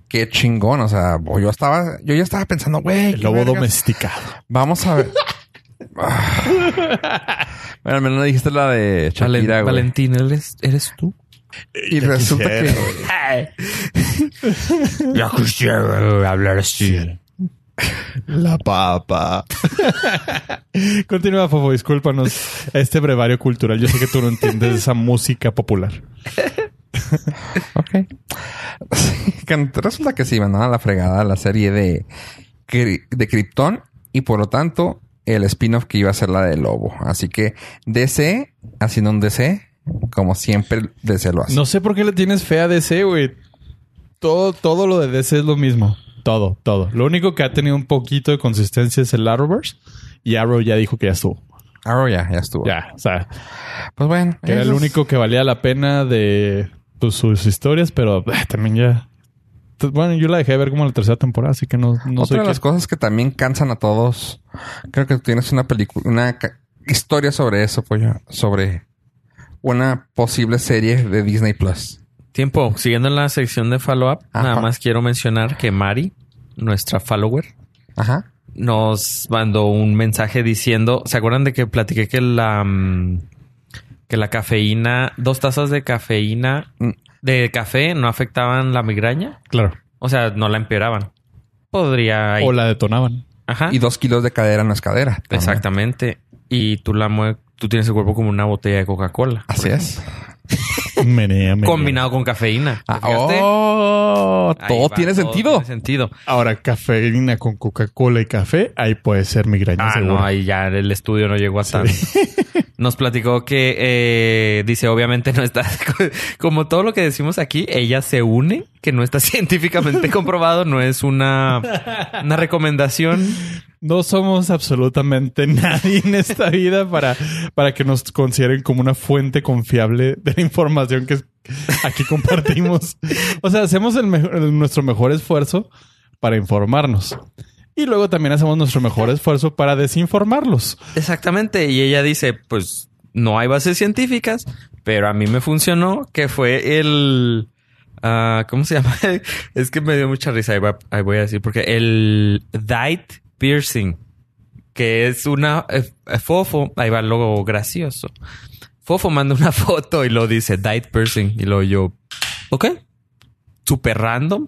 Speaker 1: Qué chingón. O sea, pues yo estaba, yo ya estaba pensando, güey,
Speaker 2: El
Speaker 1: qué
Speaker 2: lobo
Speaker 1: vergas.
Speaker 2: domesticado.
Speaker 1: Vamos a ver.
Speaker 2: <laughs>
Speaker 1: Ah. bueno, al menos no dijiste la de
Speaker 4: Valen-
Speaker 1: Shakira, güey.
Speaker 4: Valentín, ¿eres, eres tú?
Speaker 1: Y resulta
Speaker 2: quisiera,
Speaker 1: que...
Speaker 4: Ya quisiera hablar así.
Speaker 2: La papa. <laughs> Continúa, Fofo. Discúlpanos este brevario cultural. Yo sé que tú no entiendes esa música popular.
Speaker 1: Ok. <laughs> Sí, que Resulta que sí, mandaban a la fregada la serie de, Cri- de Krypton y por lo tanto el spin-off que iba a ser la de Lobo. Así que DC, haciendo un DC, como siempre DC lo hace.
Speaker 2: No sé por qué le tienes fe a DC, güey. Todo, todo lo de DC es lo mismo. Todo, todo. Lo único que ha tenido un poquito de consistencia es el Arrowverse. Y Arrow ya dijo que ya estuvo.
Speaker 1: Arrow Ah, ya, ya estuvo.
Speaker 2: Ya, o sea,
Speaker 1: Pues bueno.
Speaker 2: que era el
Speaker 1: eso es-
Speaker 2: único que valía la pena de pues, sus historias, pero ah, también ya. T- Bueno, yo la dejé de ver como la tercera temporada, así que no, no soy
Speaker 1: Otra de
Speaker 2: quien-
Speaker 1: las cosas que también cansan a todos. Creo que tienes una película, una ca- historia sobre eso, pollo. Sobre una posible serie de Disney Plus.
Speaker 4: Tiempo. Siguiendo en la sección de follow-up,
Speaker 1: Ajá.
Speaker 4: nada más quiero mencionar que Mari, nuestra follower,
Speaker 1: Ajá.
Speaker 4: nos mandó un mensaje diciendo, ¿se acuerdan de que platiqué que la mm, que la cafeína, dos tazas de cafeína
Speaker 1: Mm.
Speaker 4: de café no afectaban la migraña?
Speaker 2: Claro.
Speaker 4: O sea, no la empeoraban. Podría
Speaker 2: O la detonaban. <laughs>
Speaker 4: Ajá.
Speaker 1: Y dos kilos de cadera no es cadera. también.
Speaker 4: Exactamente. Y tú la mue- tú tienes el cuerpo como una botella de Coca-Cola.
Speaker 1: Así es.
Speaker 2: Menea, menea.
Speaker 4: Combinado con cafeína. ¿Te
Speaker 1: Ah,
Speaker 4: fijaste?
Speaker 1: oh,
Speaker 4: Ahí
Speaker 1: todo
Speaker 4: va,
Speaker 1: tiene sentido.
Speaker 4: tiene sentido.
Speaker 2: Ahora, cafeína con Coca-Cola y café, ahí puede ser migraña
Speaker 4: Ah,
Speaker 2: seguro.
Speaker 4: no, ahí ya el estudio no llegó a tanto. Nos platicó que eh, dice, obviamente no está, <laughs> como todo lo que decimos aquí, ella se une, que no está <laughs> científicamente comprobado, no es una, una recomendación.
Speaker 2: No somos absolutamente <laughs> nadie en esta vida para, para que nos consideren como una fuente confiable de la información que aquí compartimos. O sea, hacemos el mejo- el- nuestro mejor esfuerzo para informarnos. Y luego también hacemos nuestro mejor esfuerzo para desinformarlos.
Speaker 4: Exactamente. Y ella dice, pues no hay bases científicas, pero a mí me funcionó, que fue el... ah, ¿Cómo se llama? <laughs> es que me dio mucha risa, ahí, va- ahí voy a decir, porque el diet piercing, que es una... eh, eh, fofo, ahí va luego gracioso. Fofo manda una <laughs> foto y lo dice, diet piercing, y luego yo, ok, super random.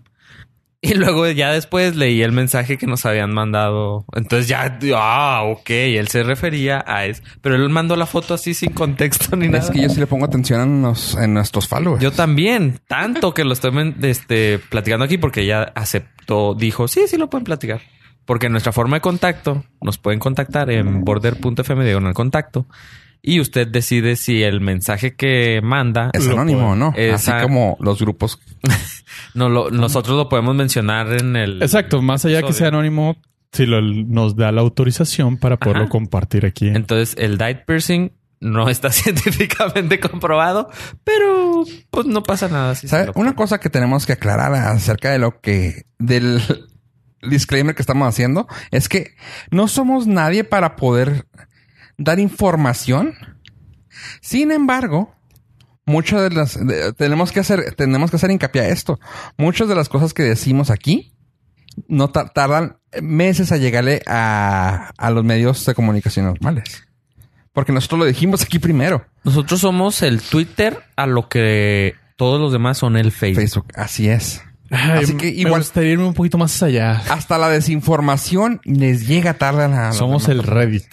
Speaker 4: Y luego ya después leí el mensaje que nos habían mandado. Entonces ya, ah, ok, él se refería a eso. Pero él mandó la foto así sin contexto ni nada.
Speaker 1: Es que yo sí le pongo atención en, los- en nuestros followers.
Speaker 4: Yo también, tanto que lo estoy men- este, platicando aquí porque ella aceptó, dijo, sí, sí lo pueden platicar. Porque nuestra forma de contacto nos pueden contactar en border.fm diagonal contacto y usted decide si el mensaje que manda
Speaker 1: Es
Speaker 2: Lo
Speaker 1: anónimo,
Speaker 2: puedo-
Speaker 1: ¿no?
Speaker 4: Esa-
Speaker 1: Así como los grupos.
Speaker 4: no lo- nosotros lo podemos mencionar en el
Speaker 2: Exacto, más allá que
Speaker 4: episodio.
Speaker 2: sea anónimo, si lo- nos da la autorización para poderlo
Speaker 4: Ajá.
Speaker 2: compartir aquí.
Speaker 4: Entonces, el dye piercing no está <laughs> científicamente comprobado, pero pues no pasa nada. si se
Speaker 1: ¿Sabe?
Speaker 4: lo
Speaker 1: Una
Speaker 4: ponen.
Speaker 1: cosa que tenemos que aclarar acerca de lo que... del <laughs> disclaimer que estamos haciendo es que no somos nadie para poder dar información. Sin embargo, muchas de las... de- tenemos, que hacer, tenemos que hacer hincapié a esto. Muchas de las cosas que decimos aquí no tar- tardan meses a llegarle a, a los medios de comunicación normales. Porque nosotros lo dijimos aquí primero.
Speaker 4: Nosotros somos el Twitter a lo que todos los demás son el Facebook.
Speaker 1: Facebook, así es.
Speaker 2: Ay,
Speaker 1: así que
Speaker 2: me
Speaker 1: igual-
Speaker 2: gustaría irme un poquito más allá.
Speaker 1: Hasta la desinformación les llega tarde a la. a la-
Speaker 2: Somos el Reddit.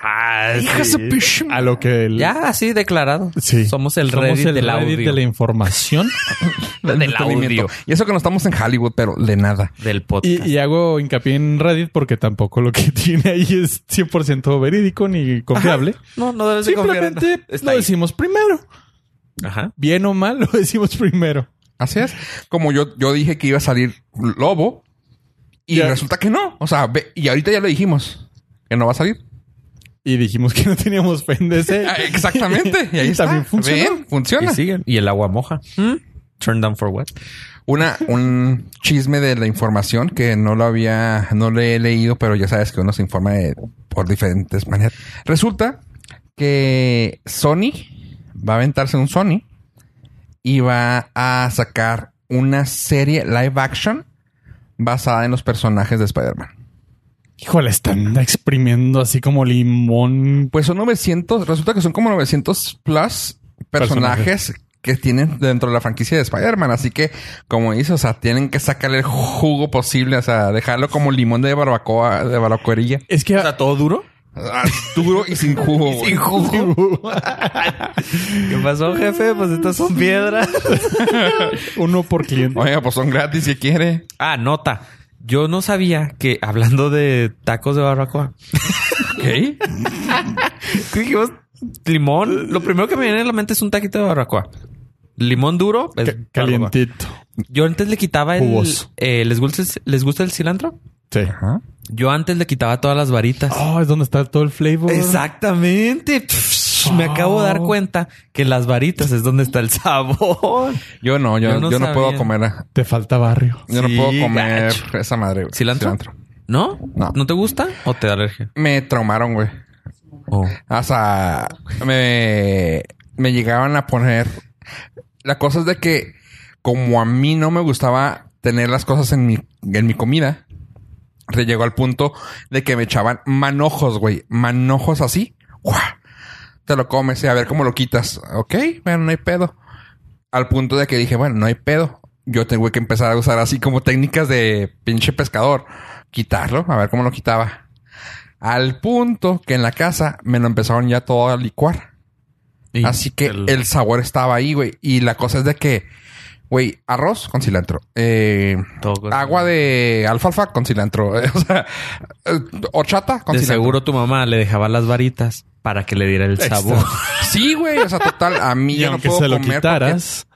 Speaker 4: Ah,
Speaker 1: Hija
Speaker 4: sí.
Speaker 1: su pish-
Speaker 2: A lo que el-
Speaker 4: Ya, así declarado.
Speaker 2: Sí.
Speaker 4: Somos el
Speaker 2: Somos
Speaker 4: Reddit,
Speaker 2: el
Speaker 4: del
Speaker 2: Reddit
Speaker 4: audio,
Speaker 2: de la información.
Speaker 4: del,
Speaker 1: entretenimiento.
Speaker 4: audio,
Speaker 1: Y eso que no estamos en Hollywood, pero de nada.
Speaker 4: del podcast.
Speaker 2: <laughs> Y, y hago hincapié en Reddit porque tampoco lo que <laughs> tiene ahí es 100% verídico ni confiable.
Speaker 4: No, no debes de confiar en-
Speaker 2: Simplemente
Speaker 4: Está
Speaker 2: lo
Speaker 4: ahí.
Speaker 2: decimos primero.
Speaker 4: Ajá.
Speaker 2: Bien o mal, <laughs> lo decimos primero.
Speaker 1: Así es. Como yo, yo dije que iba a salir Lobo y
Speaker 2: Ya.
Speaker 1: resulta que no. O sea, ve- y ahorita ya lo dijimos que no va a salir.
Speaker 2: Y dijimos que no teníamos fe en DC.
Speaker 1: <laughs> Ah, Exactamente. Y ahí
Speaker 2: <laughs> Y
Speaker 1: está.
Speaker 2: también funcionó.
Speaker 1: Ven, funciona.
Speaker 4: Y siguen. Y el agua moja. ¿Mm? Turn down for what?
Speaker 1: Una, un chisme de la información que no lo había, no le he leído, pero ya sabes que uno se informa de- por diferentes maneras. Resulta que Sony va a aventarse un Sony y va a sacar una serie live action basada en los personajes de Spider-Man.
Speaker 2: Híjole, están exprimiendo así como limón.
Speaker 1: Pues son 900, resulta que son como 900 plus personajes
Speaker 2: Personajes.
Speaker 1: que tienen dentro de la franquicia de Spider-Man. Así que, como dices, o sea, tienen que sacarle el jugo posible, o sea, dejarlo como limón de barbacoa, de barbacoerilla.
Speaker 2: Es que
Speaker 4: O sea, todo duro.
Speaker 1: Ah, Duro <laughs> y sin jugo. güey.
Speaker 4: ¿Qué pasó, jefe? Pues estas son piedras.
Speaker 2: uno
Speaker 1: <laughs>
Speaker 2: por cliente.
Speaker 1: Oiga, pues son gratis si quiere.
Speaker 4: <laughs> Ah, nota. Yo no sabía que hablando de tacos de <laughs> barbacoa,
Speaker 1: Ok.
Speaker 4: dijimos limón. Lo primero que me viene a la mente es un taquito de barbacoa. Limón duro, es
Speaker 2: Ca- Calientito.
Speaker 4: barbacoa. Yo antes le quitaba el.
Speaker 2: Jugoso.
Speaker 4: eh, ¿les, gusta el ¿Les gusta el cilantro?
Speaker 2: Sí.
Speaker 1: Ajá.
Speaker 4: Yo antes le quitaba todas las varitas.
Speaker 2: Oh, es donde está todo el flavor.
Speaker 4: Exactamente. Me acabo de dar cuenta que las varitas es donde está el sabor.
Speaker 1: Yo no, yo,
Speaker 4: Yo
Speaker 1: yo
Speaker 4: no
Speaker 1: no, puedo
Speaker 4: sabía.
Speaker 1: comer. ah,
Speaker 2: Te falta barrio.
Speaker 1: Yo no
Speaker 4: Sí,
Speaker 1: puedo comer
Speaker 4: gacho.
Speaker 1: esa madre, güey.
Speaker 4: ¿Cilantro? ¿No?
Speaker 1: No.
Speaker 4: ¿No te gusta o te da alergia?
Speaker 1: Me traumaron, güey.
Speaker 4: Oh.
Speaker 1: O sea, me, me llegaban a poner. La cosa es de que, como a mí no me gustaba tener las cosas en mi, en mi comida, re- llegó al punto de que me echaban manojos, güey. Manojos así. ¡Guau! Te lo comes y a ver cómo lo quitas. Ok, bueno, no hay pedo. Al punto de que dije, bueno, no hay pedo. Yo tengo que empezar a usar así como técnicas de pinche pescador. Quitarlo, a ver cómo lo quitaba. Al punto que en la casa me lo empezaron ya todo a licuar.
Speaker 4: Y
Speaker 1: Así que el... sabor estaba ahí, güey. Y la cosa es de que, güey, arroz con cilantro. eh,
Speaker 4: todo con-
Speaker 1: agua de alfalfa con cilantro. <laughs> eh, o sea, eh, horchata con
Speaker 4: De
Speaker 1: cilantro.
Speaker 4: seguro tu mamá le dejaba las varitas para que le diera el
Speaker 2: Extra.
Speaker 4: sabor.
Speaker 1: Sí, güey. O sea, total, a mí
Speaker 2: Y
Speaker 1: ya no
Speaker 2: aunque
Speaker 1: puedo
Speaker 2: se lo
Speaker 1: comer
Speaker 2: quitaras,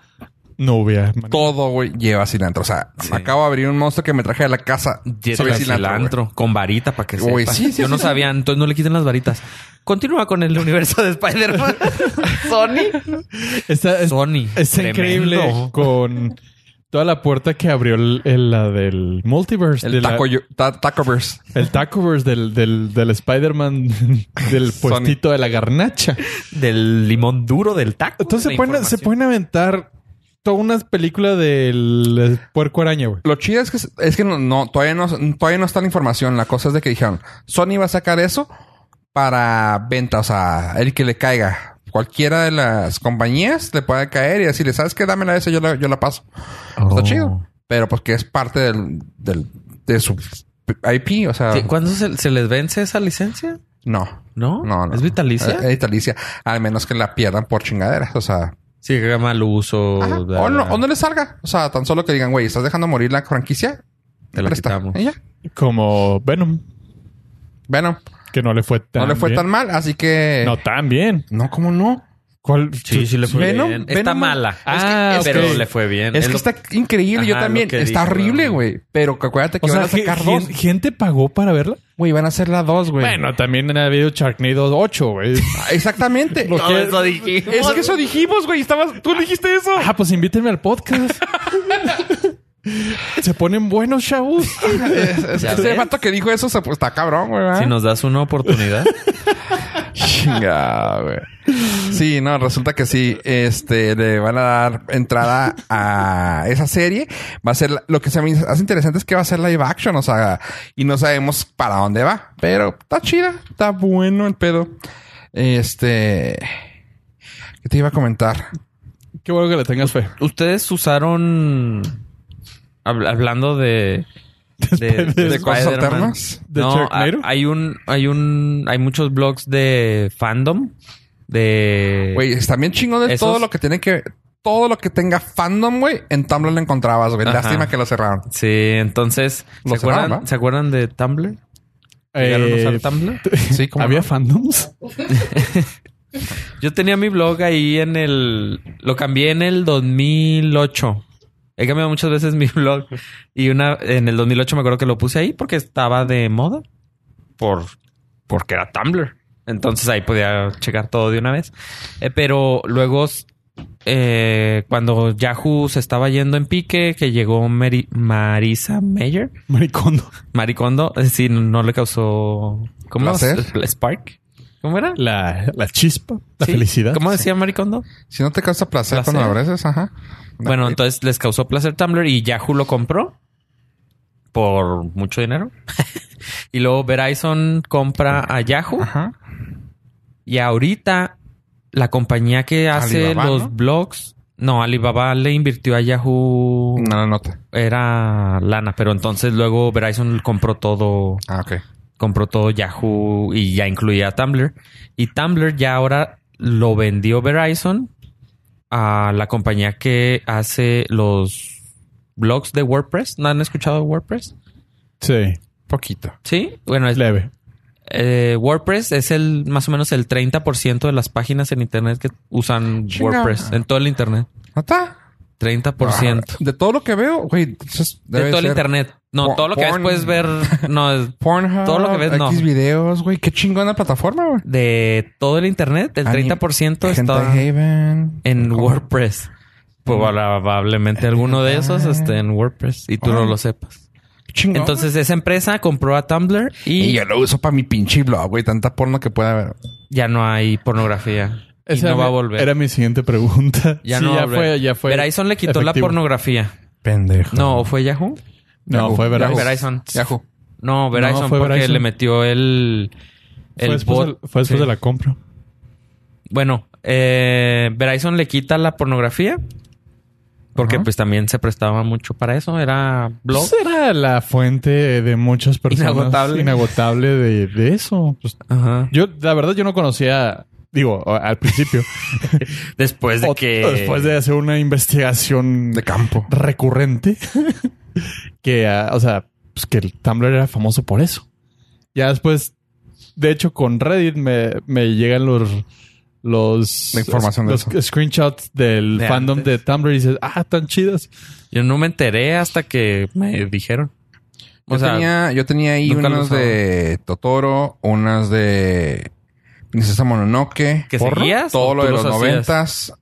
Speaker 2: no hubiera.
Speaker 1: porque todo, güey, lleva cilantro. O sea, me acabo de abrir un monstruo que me traje de la casa.
Speaker 4: Lleno
Speaker 1: Sabe
Speaker 4: de cilantro,
Speaker 1: güey.
Speaker 4: con varita para que sepa.
Speaker 1: Uy, sí, sí,
Speaker 4: Yo
Speaker 1: sí,
Speaker 4: no
Speaker 1: sí.
Speaker 4: sabía, entonces no le quiten las varitas. Continúa con el universo
Speaker 1: <laughs>
Speaker 4: de Spider-Man. Sony.
Speaker 2: Está, es-
Speaker 4: Sony.
Speaker 2: está increíble
Speaker 4: Tremendo.
Speaker 2: con toda la puerta que abrió el- el- la del multiverse. de
Speaker 1: El
Speaker 2: la-
Speaker 1: taco, yo- ta- tacoverse.
Speaker 2: el Tacoverse del, del, del Spider-Man <laughs> del
Speaker 1: Sony.
Speaker 2: puestito de la garnacha.
Speaker 4: Del limón duro del taco.
Speaker 2: Entonces
Speaker 4: La
Speaker 2: se pueden, se
Speaker 4: información.
Speaker 2: pueden aventar toda una película del eh, puerco araña, güey.
Speaker 1: Lo chido es que, es que no, no, todavía no, todavía no está la información. La cosa es de que dijeron, Sony va a sacar eso para venta, o sea, el que le caiga. Cualquiera de las compañías le puede caer y decirle, ¿sabes qué? Dámela esa, yo la, yo la paso. Está
Speaker 4: Oh.
Speaker 1: chido. Pero pues que es parte del, del, de su IP, o sea,
Speaker 4: Sí, ¿Cuándo se, se les vence esa licencia?
Speaker 1: no.
Speaker 4: ¿No?
Speaker 1: No, no.
Speaker 4: ¿Es vitalicia?
Speaker 1: Eh, Es vitalicia. Al menos que la pierdan por chingaderas, o sea.
Speaker 4: Sí, que haga mal uso.
Speaker 1: ajá. Oh,
Speaker 4: da-
Speaker 1: O, no, o no le salga. O sea, tan solo que digan, güey, ¿estás dejando morir la franquicia?
Speaker 4: Te la
Speaker 1: presta.
Speaker 4: quitamos.
Speaker 1: Y ya.
Speaker 2: Como Venom,
Speaker 1: Bueno,
Speaker 2: que no le fue tan
Speaker 1: no le fue
Speaker 2: bien.
Speaker 1: tan mal, así que.
Speaker 2: No, tan bien.
Speaker 1: No, ¿cómo no?
Speaker 2: ¿Cuál?
Speaker 4: Sí, sí le fue
Speaker 1: Venom-
Speaker 4: bien.
Speaker 1: Venom-
Speaker 4: Está mala.
Speaker 2: Ah,
Speaker 1: es que, es
Speaker 4: Pero
Speaker 1: que-
Speaker 4: le fue bien.
Speaker 1: es
Speaker 4: Es
Speaker 1: que
Speaker 4: lo-
Speaker 1: está increíble. yo
Speaker 4: Ajá, lo
Speaker 1: también.
Speaker 4: que
Speaker 1: Está
Speaker 4: dijo,
Speaker 1: horrible,
Speaker 4: ¿no?
Speaker 1: güey. Pero que acuérdate que
Speaker 2: O
Speaker 1: van
Speaker 2: sea,
Speaker 1: a sacar
Speaker 2: gen-
Speaker 1: dos.
Speaker 2: gen- ¿gente pagó para verla?
Speaker 1: Güey, van a ser las dos, güey.
Speaker 2: Bueno, también ha habido Sharknado 8, güey.
Speaker 1: Ah, Exactamente.
Speaker 2: Lo que-
Speaker 4: dijimos.
Speaker 1: Es que eso dijimos, güey. Estabas... Tú dijiste eso.
Speaker 2: Ah, pues invítenme al podcast. Se ponen buenos, chavos.
Speaker 1: Es-
Speaker 4: <laughs> Ya
Speaker 1: Ese
Speaker 4: ves.
Speaker 1: vato que dijo eso se, pues, está cabrón, güey. ¿verdad?
Speaker 4: Si nos das una
Speaker 1: <laughs>
Speaker 4: oportunidad.
Speaker 1: Chinga, güey. Sí, no, resulta que sí. Este, le van a dar entrada a esa serie. Va a ser la- lo que se me hace interesante es que va a ser live action, o sea, y no sabemos para dónde va, pero está chida, está bueno el pedo. Este, ¿qué te iba a comentar?
Speaker 2: Qué bueno que le tengas fe.
Speaker 4: Ustedes usaron. hab- hablando de. De,
Speaker 2: de-
Speaker 1: ¿De cosas
Speaker 4: Spider-Man. Eh,
Speaker 1: alternas?
Speaker 2: ¿De
Speaker 4: no,
Speaker 2: Sharknado?
Speaker 4: ha- hay un, hay un, hay muchos blogs de fandom de
Speaker 1: Güey, está bien chingón de
Speaker 4: Esos-
Speaker 1: todo lo que tiene que... Todo lo que tenga fandom, güey, en Tumblr lo encontrabas, güey.
Speaker 4: Ajá.
Speaker 1: Lástima que lo cerraron.
Speaker 4: Sí, entonces
Speaker 1: Lo
Speaker 4: ¿se acuerdan,
Speaker 1: cerraron, ¿no?
Speaker 4: ¿se acuerdan de Tumblr? ¿Llegaron a
Speaker 2: Eh,
Speaker 4: usar Tumblr?
Speaker 1: Sí, como...
Speaker 2: ¿Había fandoms?
Speaker 4: Yo tenía mi blog ahí en el. Lo cambié en el 2008. He cambiado muchas veces mi <laughs> blog. Y una en el 2008 me acuerdo que lo puse ahí porque estaba de moda. Por, porque era Tumblr. Entonces ahí podía checar todo de una vez. Eh, pero luego, eh, cuando Yahoo se estaba yendo en pique, que llegó Mary- Marisa Mayer.
Speaker 2: Maricondo.
Speaker 4: Maricondo, eh, sí, no le causó. ¿Cómo
Speaker 1: Placer.
Speaker 4: Sp- Spark. ¿Cómo era?
Speaker 2: La, la chispa, la
Speaker 4: Sí.
Speaker 2: felicidad.
Speaker 4: ¿Cómo decía Maricondo?
Speaker 1: Si no te causa placer,
Speaker 4: Placer.
Speaker 1: cuando abreces, ajá.
Speaker 4: Bueno, entonces les causó placer Tumblr y Yahoo lo compró por
Speaker 1: <laughs>
Speaker 4: mucho dinero. y luego Verizon compra a Yahoo
Speaker 1: Ajá.
Speaker 4: y ahorita la compañía que hace
Speaker 1: Alibaba,
Speaker 4: los
Speaker 1: ¿no?
Speaker 4: blogs, no, Alibaba le invirtió a Yahoo
Speaker 1: No la nota.
Speaker 4: era lana, pero entonces luego Verizon compró todo
Speaker 1: Ah, ok.
Speaker 4: compró todo Yahoo y ya incluía Tumblr. Y Tumblr ya ahora lo vendió Verizon a la compañía que hace los blogs de WordPress. ¿No han escuchado de WordPress?
Speaker 2: Sí,
Speaker 1: Poquito.
Speaker 4: Sí, bueno, es-
Speaker 2: leve.
Speaker 4: eh, WordPress es el más o menos el 30% de las páginas en Internet que usan
Speaker 1: Chinga.
Speaker 4: WordPress, en todo el Internet.
Speaker 1: ¿No está? Ah,
Speaker 4: 30%.
Speaker 1: De todo lo que veo, güey. entonces
Speaker 4: De
Speaker 1: debe
Speaker 4: todo el
Speaker 1: ser
Speaker 4: Internet. No,
Speaker 1: Por-
Speaker 4: todo lo que ves
Speaker 1: porn.
Speaker 4: puedes ver. No, es
Speaker 1: Pornhub,
Speaker 4: Todo lo que ves, no.
Speaker 1: X videos, güey. Qué chingona plataforma, güey.
Speaker 4: de todo el Internet, el
Speaker 1: Ani-
Speaker 4: 30%
Speaker 1: Hentai
Speaker 4: está.
Speaker 1: Haven.
Speaker 4: En
Speaker 1: ¿Cómo?
Speaker 4: WordPress. Probablemente alguno de esos esté en WordPress y tú no
Speaker 1: Órale.
Speaker 4: lo sepas.
Speaker 1: Qué chingón,
Speaker 4: Entonces esa empresa compró a Tumblr
Speaker 1: güey. Y
Speaker 4: y
Speaker 1: yo lo uso para mi pinche blog, güey. Tanta porno que pueda haber.
Speaker 4: ya no hay pornografía. Y
Speaker 2: Esa
Speaker 4: no va a
Speaker 2: era-
Speaker 4: volver.
Speaker 2: Era mi siguiente pregunta.
Speaker 4: Ya
Speaker 2: Sí,
Speaker 4: no va a
Speaker 2: ya
Speaker 4: volver.
Speaker 2: fue, ya fue.
Speaker 4: Verizon le quitó la
Speaker 2: efectivo.
Speaker 4: pornografía.
Speaker 1: Pendejo.
Speaker 4: No, ¿o ¿fue Yahoo?
Speaker 2: No, fue Verizon.
Speaker 4: Verizon.
Speaker 1: Yahoo.
Speaker 4: No, Verizon
Speaker 2: fue
Speaker 4: porque
Speaker 2: Verizon.
Speaker 4: le metió el...
Speaker 2: Fue
Speaker 4: el
Speaker 2: después,
Speaker 4: bot.
Speaker 2: de, fue después
Speaker 4: Sí.
Speaker 2: de la compra.
Speaker 4: Bueno, eh, Verizon le quita la pornografía porque
Speaker 1: Ajá.
Speaker 4: pues también se prestaba mucho para eso. Era blog.
Speaker 2: Pues era la fuente de muchas personas.
Speaker 4: Inagotable.
Speaker 2: Inagotable de, de eso. Pues,
Speaker 4: Ajá.
Speaker 2: yo, la verdad, yo no conocía... Digo, a- al principio.
Speaker 4: Después de
Speaker 2: o-
Speaker 4: que...
Speaker 2: Después de hacer una investigación
Speaker 1: De campo.
Speaker 2: recurrente. <laughs> que, ah, o sea, pues que el Tumblr era famoso por eso. Ya después, de hecho, con Reddit me, me llegan los. Los,
Speaker 1: La información de
Speaker 2: los
Speaker 1: eso.
Speaker 2: screenshots del
Speaker 4: De
Speaker 2: fandom
Speaker 4: antes.
Speaker 2: de Tumblr y dices, ah, tan chidas.
Speaker 4: Yo no me enteré hasta que me dijeron. O
Speaker 1: Yo,
Speaker 4: sea,
Speaker 1: tenía, yo tenía ahí
Speaker 4: nunca lo
Speaker 1: unos
Speaker 4: usaba.
Speaker 1: de Totoro, unas de Princesa Mononoke.
Speaker 4: ¿Que
Speaker 1: Porno,
Speaker 4: seguías o
Speaker 1: Todo lo
Speaker 4: tú
Speaker 1: de
Speaker 4: los
Speaker 1: los
Speaker 4: hacías?
Speaker 1: noventas.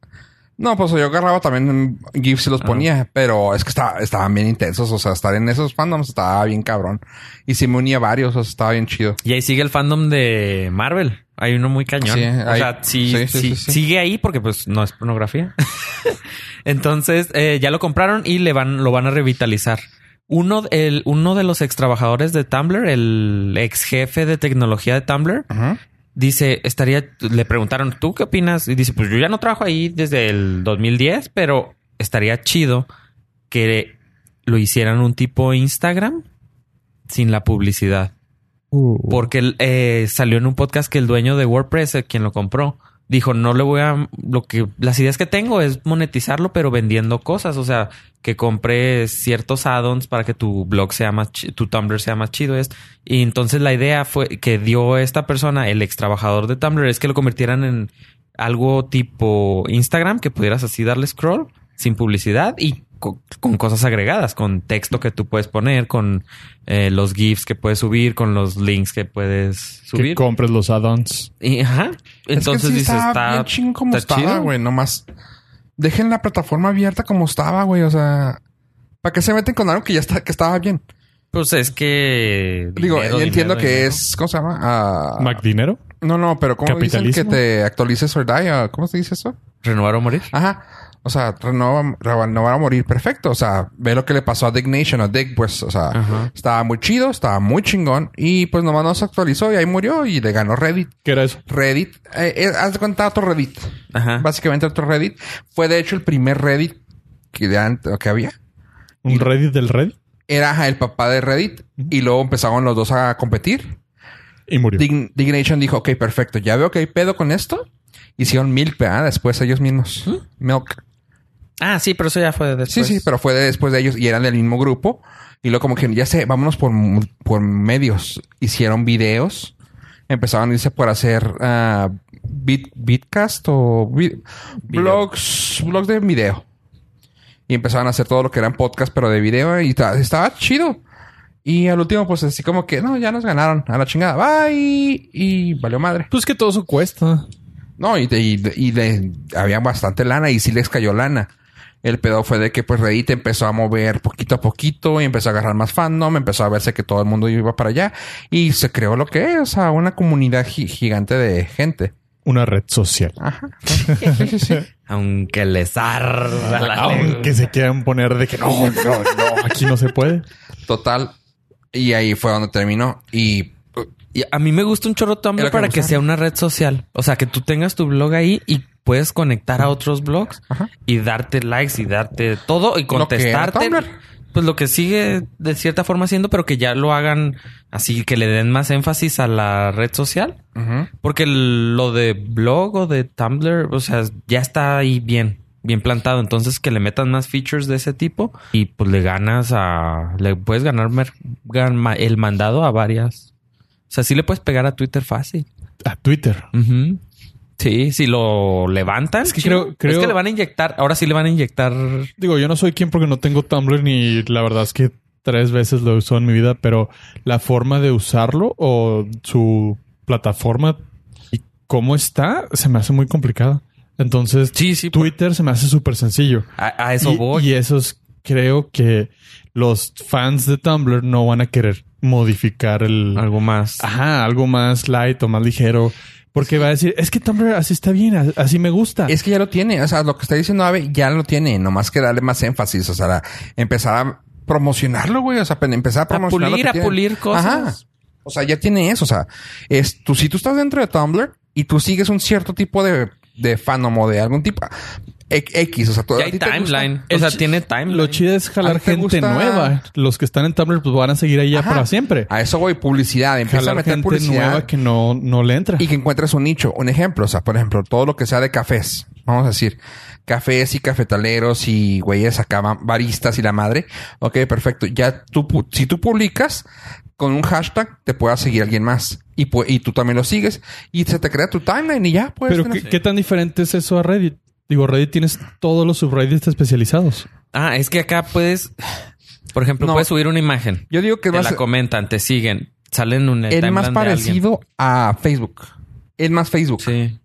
Speaker 1: No, pues yo agarraba también GIFs y los
Speaker 4: Ah.
Speaker 1: ponía, pero es que estaba- estaban bien intensos. O sea, estar en esos fandoms estaba bien cabrón. Y sí me unía a varios, o sea, estaba bien chido.
Speaker 4: y ahí sigue el fandom de Marvel. Hay uno muy cañón.
Speaker 1: Sí,
Speaker 4: o
Speaker 1: hay-
Speaker 4: sea, sí,
Speaker 1: sí, sí,
Speaker 4: sí,
Speaker 1: sí, sí.
Speaker 4: sigue ahí porque pues no es pornografía. <laughs> Entonces, eh, ya lo compraron y le van, lo van a revitalizar. Uno, el, uno de los ex trabajadores de Tumblr, el ex jefe de tecnología de Tumblr,
Speaker 1: Ajá.
Speaker 4: dice, estaría, le preguntaron, ¿tú qué opinas? Y dice, pues yo ya no trabajo ahí desde el 2010, pero estaría chido que lo hicieran un tipo Instagram sin la publicidad. Porque eh, salió en un podcast que el dueño de WordPress, eh, quien lo compró, dijo, no le voy a... Lo que... Las ideas que tengo es monetizarlo, pero vendiendo cosas. O sea, que compres ciertos add-ons para que tu blog sea más... chi- Tu Tumblr sea más chido. Es, y entonces la idea fue que dio esta persona, el ex trabajador de Tumblr, es que lo convirtieran en algo tipo Instagram, que pudieras así darle scroll sin publicidad y co- con cosas agregadas, con texto que tú puedes poner, con eh, los GIFs que puedes subir, con los links que puedes
Speaker 2: Que
Speaker 4: subir.
Speaker 2: compres los add-ons.
Speaker 4: Y, ajá. Entonces
Speaker 1: es que sí
Speaker 4: dices,
Speaker 1: estaba
Speaker 4: está,
Speaker 1: bien chingón como
Speaker 4: está
Speaker 1: estaba,
Speaker 4: chido.
Speaker 1: güey. Nomás dejen la plataforma abierta como estaba, güey. O sea, ¿para qué se meten con algo que ya está, que estaba bien?
Speaker 4: Pues es que.
Speaker 1: Digo,
Speaker 4: dinero,
Speaker 1: yo entiendo
Speaker 4: dinero,
Speaker 1: que
Speaker 4: dinero.
Speaker 1: es, ¿cómo se llama? Ah,
Speaker 2: Mac dinero.
Speaker 1: no, no, pero ¿cómo dicen que
Speaker 2: Capitalismo.
Speaker 1: te actualices o die? Ah, ¿Cómo se dice eso?
Speaker 4: Renovar o morir.
Speaker 1: Ajá. O sea, renova, renovar a morir, perfecto. O sea, ve lo que le pasó a Dick Nation, a Dick, pues, o sea,
Speaker 4: Ajá.
Speaker 1: estaba muy chido, estaba muy chingón. Y pues nomás no se actualizó y ahí murió y le ganó Reddit.
Speaker 2: ¿Qué era eso?
Speaker 1: Reddit, eh, eh, haz de cuenta otro Reddit.
Speaker 4: Ajá.
Speaker 1: Básicamente otro Reddit. Fue de hecho el primer Reddit que, de ant- que había.
Speaker 2: ¿Un Reddit del Reddit?
Speaker 1: Era ajá, el papá de Reddit y luego empezaron los dos a competir.
Speaker 2: Y murió.
Speaker 1: Dign- Dignation dijo, ok, perfecto, ya veo que hay pedo con esto. Hicieron Milk, ¿verdad? Después ellos mismos. Milk.
Speaker 4: Ah, sí, pero eso ya fue después.
Speaker 1: Sí, sí, pero fue de- después de ellos y eran del mismo grupo. Y luego como que ya sé, vámonos por, mu- por medios. Hicieron videos. Empezaron a irse por hacer ah, bit, bitcast o vi- blogs, blogs de video. Y empezaron a hacer todo lo que eran podcasts, pero de video. Y ta- estaba chido. Y al último, pues así como que, no, ya nos ganaron. A la chingada. Bye. Y valió madre.
Speaker 2: Pues que todo eso cuesta.
Speaker 1: No, y, de, y, de- y de- había bastante lana y sí les cayó lana. El pedo fue de que pues Reddit empezó a mover poquito a poquito y empezó a agarrar más fandom, empezó a verse que todo el mundo iba para allá y se creó lo que es, o sea, una comunidad gi- gigante de gente.
Speaker 2: Una red social.
Speaker 1: Ajá. Sí, sí, sí.
Speaker 4: Aunque les arda la lengua.
Speaker 2: Aunque se quieran poner de que no, no, no, aquí no se puede.
Speaker 1: Total. Y ahí fue donde terminó y
Speaker 4: Y a mí me gusta un chorro
Speaker 1: Es
Speaker 4: Tumblr
Speaker 1: lo que
Speaker 4: para
Speaker 1: me
Speaker 4: que
Speaker 1: gusta.
Speaker 4: sea una red social. O sea, que tú tengas tu blog ahí y puedes conectar a otros blogs
Speaker 1: Ajá.
Speaker 4: y darte likes y darte todo y
Speaker 1: Lo que era
Speaker 4: contestarte.
Speaker 1: Tumblr.
Speaker 4: Pues lo que sigue de cierta forma siendo, pero que ya lo hagan así, que le den más énfasis a la red social.
Speaker 1: ujú.
Speaker 4: Porque el- lo de blog o de Tumblr, o sea, ya está ahí bien, bien plantado. Entonces que le metan más features de ese tipo y pues le ganas a, le puedes ganar mer- gan- ma- el mandado a varias. O sea, sí le puedes pegar a Twitter fácil.
Speaker 2: A Twitter.
Speaker 4: Ujú. Sí, si lo levantan.
Speaker 2: Es que
Speaker 4: chido.
Speaker 2: creo- creo-
Speaker 4: Es que le van a inyectar, ahora sí le van a inyectar.
Speaker 2: Digo, yo no soy quien porque no tengo Tumblr ni la verdad es que tres veces lo he usado en mi vida, pero la forma de usarlo o su plataforma y cómo está se me hace muy complicada. Entonces,
Speaker 4: Sí, sí.
Speaker 2: Twitter se me hace súper sencillo.
Speaker 4: A, a eso
Speaker 2: y,
Speaker 4: voy.
Speaker 2: y esos creo que los fans de Tumblr no van a querer modificar el,
Speaker 4: Algo más.
Speaker 2: Ajá, algo más light o más ligero. Porque va a decir, es que Tumblr así está bien, a- así me gusta.
Speaker 1: Es que ya lo tiene. O sea, lo que está diciendo Ave ya lo tiene. Nomás que darle más énfasis. O sea, la- empezar a promocionarlo, güey. O sea, pen- empezar a promocionar. lo
Speaker 4: pulir,
Speaker 1: que
Speaker 4: a
Speaker 1: tiene.
Speaker 4: pulir cosas.
Speaker 1: O sea, ya tiene eso. O sea, es tú, si tú estás dentro de Tumblr y tú sigues un cierto tipo de, de fandom o de algún tipo. e- X, o sea, tú,
Speaker 4: Ya
Speaker 1: a
Speaker 4: hay
Speaker 1: ti te gusta-
Speaker 4: timeline. O sea,
Speaker 2: El ch-
Speaker 4: tiene timeline.
Speaker 2: Lo chido es
Speaker 1: ¿A
Speaker 2: jalar
Speaker 1: ti te
Speaker 2: gente
Speaker 1: gusta?
Speaker 2: nueva. Los que están en Tumblr pues, van a seguir ahí ya
Speaker 1: Ajá.
Speaker 2: para siempre.
Speaker 1: A eso voy, publicidad. Empieza a
Speaker 2: Jalar
Speaker 1: meter
Speaker 2: gente
Speaker 1: publicidad
Speaker 2: nueva que no, no le entra.
Speaker 1: y que encuentres un nicho. Un ejemplo, o sea, por ejemplo, todo lo que sea de cafés. Vamos a decir, cafés y cafetaleros y güeyes acá, ba- baristas y la madre. Ok, perfecto. Ya tú, pu- si tú publicas con un hashtag, te pueda seguir alguien más. Y, pu- y tú también lo sigues. Y se te crea tu timeline y ya, pues.
Speaker 2: Pero
Speaker 1: tienes-
Speaker 2: ¿qué, qué tan diferente es eso a Reddit? Digo, Reddit tienes todos los subreddits especializados.
Speaker 4: Ah, es que acá puedes, por ejemplo,
Speaker 1: No.
Speaker 4: puedes subir una imagen.
Speaker 1: Yo digo que
Speaker 4: Te
Speaker 1: más,
Speaker 4: la comentan, te siguen, salen un
Speaker 1: el más
Speaker 4: timeline de alguien.
Speaker 1: parecido a Facebook. El más Facebook.
Speaker 4: Sí.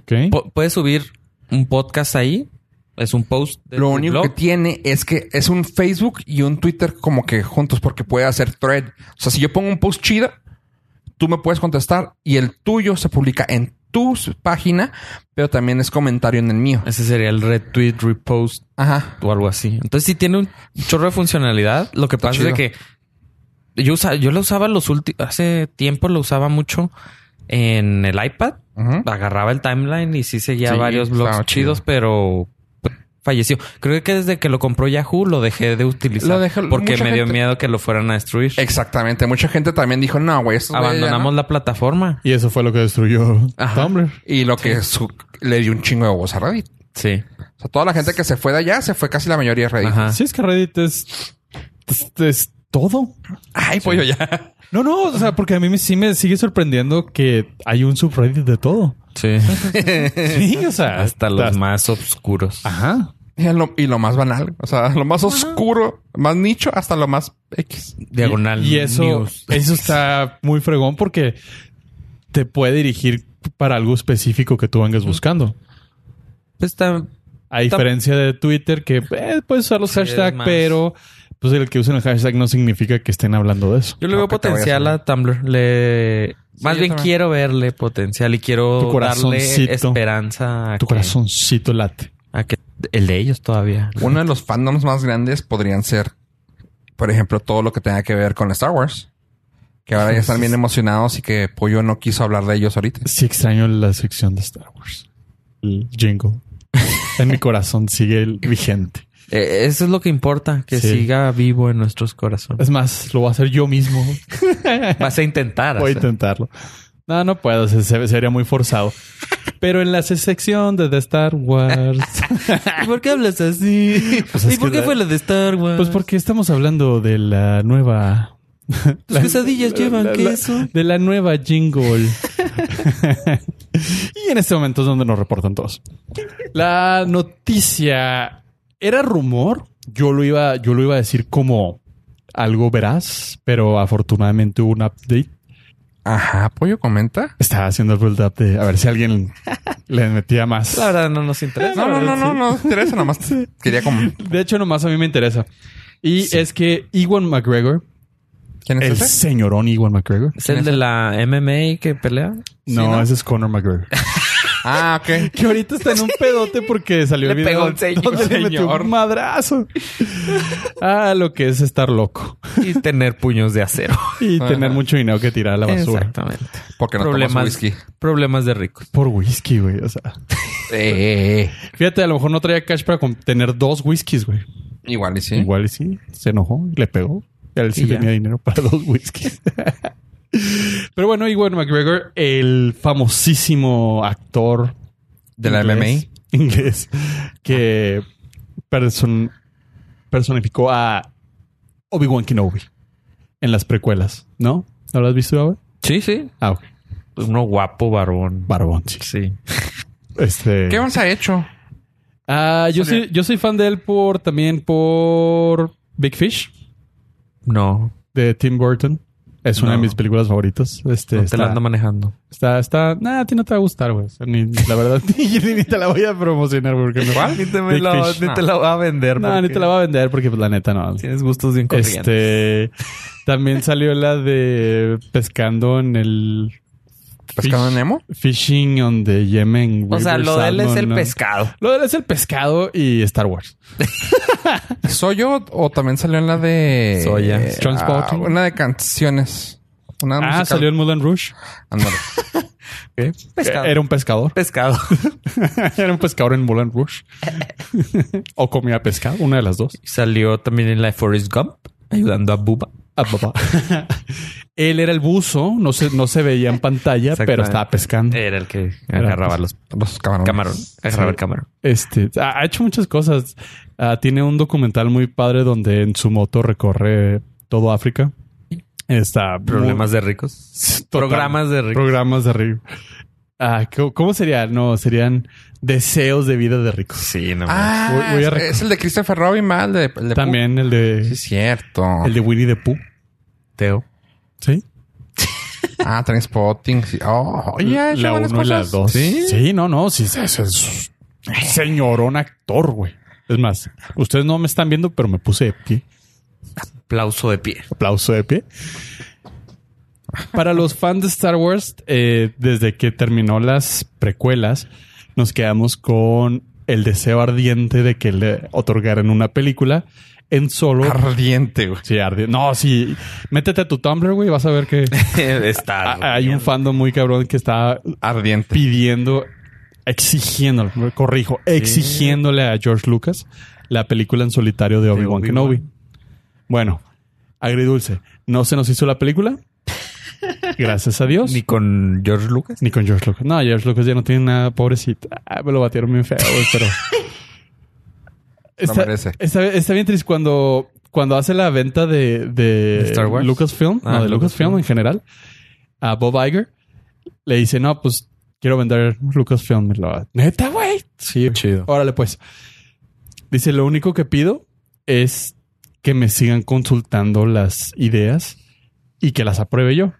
Speaker 2: Ok.
Speaker 4: Po- puedes subir un podcast ahí. Es un post. de
Speaker 1: Lo
Speaker 4: tu
Speaker 1: único
Speaker 4: blog.
Speaker 1: que tiene es que es un Facebook y un Twitter como que juntos porque puede hacer thread. O sea, si yo pongo un post chido, tú me puedes contestar y el tuyo se publica en tu s- página, pero también es comentario en el mío.
Speaker 4: Ese sería el retweet, repost
Speaker 1: Ajá.
Speaker 4: o algo así. Entonces sí tiene un chorro de funcionalidad. Lo que
Speaker 1: Está
Speaker 4: pasa
Speaker 1: chido.
Speaker 4: es de que yo, usa- yo lo usaba los últimos... Hace tiempo lo usaba mucho en el iPad.
Speaker 1: Ujú.
Speaker 4: agarraba el timeline y sí seguía
Speaker 1: Sí,
Speaker 4: varios
Speaker 1: estaba
Speaker 4: blogs
Speaker 1: chido.
Speaker 4: chidos, pero pues, falleció. Creo que desde que lo compró Yahoo lo dejé de utilizar
Speaker 1: Lo dejó-
Speaker 4: porque
Speaker 1: mucha
Speaker 4: me dio
Speaker 1: gente-
Speaker 4: miedo que lo fueran a destruir.
Speaker 1: Exactamente. Mucha gente también dijo, no, güey, estos güeyes ya
Speaker 4: Abandonamos
Speaker 1: no".
Speaker 4: la plataforma.
Speaker 2: Y eso fue lo que destruyó
Speaker 4: Ajá.
Speaker 2: Tumblr.
Speaker 1: Y lo que su- le dio un chingo de voz a Reddit.
Speaker 4: Sí.
Speaker 1: O sea, toda la gente que se fue de allá se fue casi la mayoría de Reddit.
Speaker 4: Ajá.
Speaker 2: Sí, es que Reddit es, es- es todo.
Speaker 1: Ay, <laughs> pollo,
Speaker 4: <laughs>
Speaker 1: ya.
Speaker 2: No, no, o sea, porque a mí me- sí me sigue sorprendiendo que hay un subreddit de todo.
Speaker 4: Sí.
Speaker 2: Sí, o
Speaker 4: <laughs>
Speaker 2: sea,
Speaker 4: Hasta los
Speaker 2: hasta-
Speaker 4: más oscuros.
Speaker 1: Ah,
Speaker 2: Ajá.
Speaker 1: Y lo, y lo más banal. O sea, lo más oscuro, más nicho, hasta lo más X.
Speaker 4: Diagonal.
Speaker 2: Y, y eso,
Speaker 4: news.
Speaker 2: eso está muy fregón porque te puede dirigir para algo específico que tú vengas buscando.
Speaker 4: Pues está-
Speaker 2: A diferencia de Twitter, que eh, puedes usar los
Speaker 4: Sí, es
Speaker 2: hashtags,
Speaker 4: más-
Speaker 2: pero pues el que usen el hashtag no significa que estén hablando de eso.
Speaker 4: Yo le veo
Speaker 1: Creo que te voy a
Speaker 4: potencial a Tumblr. Le... Más
Speaker 1: yo
Speaker 4: bien
Speaker 1: también.
Speaker 4: quiero verle potencial y quiero
Speaker 2: Tu corazoncito.
Speaker 4: darle esperanza a
Speaker 2: Tu
Speaker 4: que-
Speaker 2: corazoncito late.
Speaker 4: a que el de ellos todavía.
Speaker 1: Uno de los fandoms más grandes podrían ser, por ejemplo, todo lo que tenga que ver con Star Wars. Que ahora ya están bien emocionados y que Pollo no quiso hablar de ellos ahorita.
Speaker 2: Sí extraño la sección de Star Wars. El
Speaker 4: <laughs>
Speaker 2: jingle. en mi corazón sigue el vigente.
Speaker 4: Eh, Eso es lo que importa, que
Speaker 2: Sí.
Speaker 4: siga vivo en nuestros corazones.
Speaker 2: Es más, lo voy a hacer yo mismo.
Speaker 4: Vas a intentar.
Speaker 2: <laughs> Voy
Speaker 4: hacer.
Speaker 2: a intentarlo. No, no puedo. se- se- sería muy forzado. Pero en la sección de The Star Wars.
Speaker 4: ¿Y por qué hablas así?
Speaker 2: <laughs> Pues
Speaker 4: ¿Y
Speaker 2: es
Speaker 4: por
Speaker 2: que
Speaker 4: qué
Speaker 2: da-
Speaker 4: fue la de Star Wars?
Speaker 2: pues porque estamos hablando de la
Speaker 4: <laughs>
Speaker 2: nueva...
Speaker 4: Tus quesadillas llevan
Speaker 2: la- la-
Speaker 4: queso.
Speaker 2: De la nueva jingle. <laughs> y en este momento es donde nos reportan todos. La noticia era rumor. Yo lo iba, yo lo iba a decir como algo veraz, pero afortunadamente hubo un update.
Speaker 1: Ajá, Pollo comenta.
Speaker 2: Estaba haciendo el build up de a ver si <laughs> alguien le metía más.
Speaker 4: La verdad no nos interesa.
Speaker 1: No, no, no, no, no, te interesa nomás. Quería como...
Speaker 2: De hecho, nomás a mí me interesa. Y es que Iwan McGregor,
Speaker 1: ¿Quién es
Speaker 2: el
Speaker 1: ese?
Speaker 2: señorón Iwan McGregor.
Speaker 4: ¿Es el de la MMA que pelea?
Speaker 2: No, ese es Conor McGregor.
Speaker 1: Ah, ok.
Speaker 2: <laughs> Que ahorita está en un pedote porque salió
Speaker 4: Le
Speaker 2: el video
Speaker 4: pegó un señor.
Speaker 2: donde le metió
Speaker 4: Señor.
Speaker 2: un madrazo. <laughs> Ah, lo que es estar loco
Speaker 4: Y
Speaker 1: <laughs>
Speaker 4: tener puños de acero.
Speaker 2: y tener
Speaker 1: Ajá.
Speaker 2: mucho dinero que tirar a la basura.
Speaker 4: Exactamente.
Speaker 1: Porque no tomas
Speaker 4: problemas,
Speaker 1: whisky.
Speaker 4: problemas de ricos.
Speaker 2: Por whisky, güey. O sea,
Speaker 1: Eh, eh, eh.
Speaker 2: fíjate, a lo mejor no traía cash para com- tener dos whiskies, güey.
Speaker 1: Igual y sí.
Speaker 2: Igual y sí, se enojó y le pegó. Y él sí
Speaker 4: Y ya.
Speaker 2: tenía dinero para dos whiskies. <laughs> Pero bueno, Iwan McGregor, el famosísimo actor
Speaker 1: De la
Speaker 2: inglés-
Speaker 1: MMA.
Speaker 2: inglés que person- personificó a Obi-Wan Kenobi en las precuelas, ¿no? ¿No lo has visto, Abel?
Speaker 4: Sí, sí.
Speaker 2: Ah, ok.
Speaker 4: Uno guapo barbón.
Speaker 2: Barbón, sí.
Speaker 4: Sí.
Speaker 2: Este...
Speaker 1: ¿Qué más ha hecho?
Speaker 2: Ah, yo,
Speaker 1: Salió.
Speaker 2: soy, yo soy fan de él por también por Big Fish.
Speaker 4: No.
Speaker 2: de Tim Burton. Es una de
Speaker 4: No.
Speaker 2: mis películas favoritas. Este,
Speaker 4: no te la
Speaker 2: está,
Speaker 4: ando manejando.
Speaker 2: está, está- nah, a ti no te va a gustar, güey. O sea, ni- la
Speaker 4: <laughs>
Speaker 2: verdad, ni, ni te la voy a promocionar, güey, porque no.
Speaker 4: Ni te,
Speaker 2: Big
Speaker 4: la,
Speaker 2: Fish.
Speaker 4: ni
Speaker 1: Ah.
Speaker 4: te la voy a vender.
Speaker 2: No, ni
Speaker 4: porque
Speaker 2: te la voy a vender porque, pues, la neta, no.
Speaker 4: Tienes gustos bien corrientes.
Speaker 2: Este, también salió la de pescando en el
Speaker 1: ¿Pescado
Speaker 2: Fish.
Speaker 1: Nemo?
Speaker 2: Fishing on the Yemen.
Speaker 4: O sea,
Speaker 2: River
Speaker 4: lo de él es
Speaker 2: Salmon,
Speaker 4: el
Speaker 2: ¿no?
Speaker 4: pescado.
Speaker 2: Lo de él es el pescado y Star Wars.
Speaker 1: ¿Soy yo o también salió en la de...
Speaker 4: Soya.
Speaker 1: eh,
Speaker 2: Transporting.
Speaker 1: ah, una de canciones. Una
Speaker 2: Ah,
Speaker 1: musical.
Speaker 2: salió el Moulin Rouge.
Speaker 1: Ándale.
Speaker 4: Pescado.
Speaker 2: Era un
Speaker 4: <laughs>
Speaker 2: pescador. <laughs>
Speaker 4: pescado.
Speaker 2: Era un pescador en Moulin
Speaker 4: <laughs>
Speaker 2: Rouge. o comía pescado, una de las dos.
Speaker 4: Salió también en la de Forrest Gump, ayudando a Bubba.
Speaker 2: Ah, papá. <laughs> Él era el buzo, no se, no se veía en pantalla,
Speaker 4: Exactamente. Eh.
Speaker 2: pero estaba pescando.
Speaker 4: Era pues el que
Speaker 2: Era,
Speaker 4: agarraba los
Speaker 1: Los camarones.
Speaker 4: camarón. Agarraba el camarón.
Speaker 2: Este ha ha hecho muchas cosas. Ah, tiene un documental muy padre donde en su moto recorre todo África. Está muy-
Speaker 4: Problemas de ricos.
Speaker 2: Total.
Speaker 4: Programas de ricos.
Speaker 2: Programas de ricos. Ah, ¿cómo- ¿Cómo sería? No, serían deseos de vida de ricos.
Speaker 4: Sí, no. mames.
Speaker 1: Ah,
Speaker 2: Voy- voy a recor-
Speaker 1: es el de Christopher Robin, mal de, el de
Speaker 2: También el de
Speaker 1: Pooh. Sí, es cierto.
Speaker 2: el de Winnie the Pooh.
Speaker 4: Teo.
Speaker 2: Sí.
Speaker 1: Ah, Transpotting. Sí. Oh, ya,
Speaker 2: la
Speaker 1: buenas
Speaker 2: 1 y la
Speaker 1: cosas.
Speaker 2: 2.
Speaker 1: Sí.
Speaker 2: no, no. Sí, es, es- es un señorón actor, güey. Es más, ustedes no me están viendo, pero me puse de pie.
Speaker 4: Aplauso de pie.
Speaker 2: Aplauso de pie. Para los fans de Star Wars, eh, desde que terminó las precuelas, nos quedamos con el deseo ardiente de que le otorgaran una película en solo.
Speaker 1: Ardiente, güey.
Speaker 2: Sí, ardi- No, sí. Métete a tu Tumblr, güey. Vas a
Speaker 1: <laughs>
Speaker 2: ver que
Speaker 4: <laughs> Está.
Speaker 2: hay un fandom muy cabrón que está
Speaker 1: Ardiente.
Speaker 2: pidiendo exigiéndole, corrijo, exigiéndole a George Lucas la película en solitario de
Speaker 4: Obi-Wan.
Speaker 2: Obi-Wan Kenobi. Bueno, agridulce. No se nos hizo la película. Gracias a Dios.
Speaker 4: Ni con George Lucas.
Speaker 2: Ni con George Lucas. No, George Lucas ya no tiene nada, pobrecito. Ah, me lo batieron bien feo, güey, pero.
Speaker 1: Lo merece.
Speaker 2: está- está bien triste cuando, cuando hace la venta de, de
Speaker 4: ¿De Star Wars?
Speaker 2: Lucasfilm,
Speaker 4: Ah,
Speaker 2: no, de Lucasfilm
Speaker 4: Lucasfilm.
Speaker 2: en general, a Bob Iger, le dice: No, pues quiero vender Lucasfilm. Y lo- Neta, güey. Sí,
Speaker 5: Chido.
Speaker 2: Órale, pues. Dice, lo único que pido es que me sigan consultando las ideas y que las apruebe yo.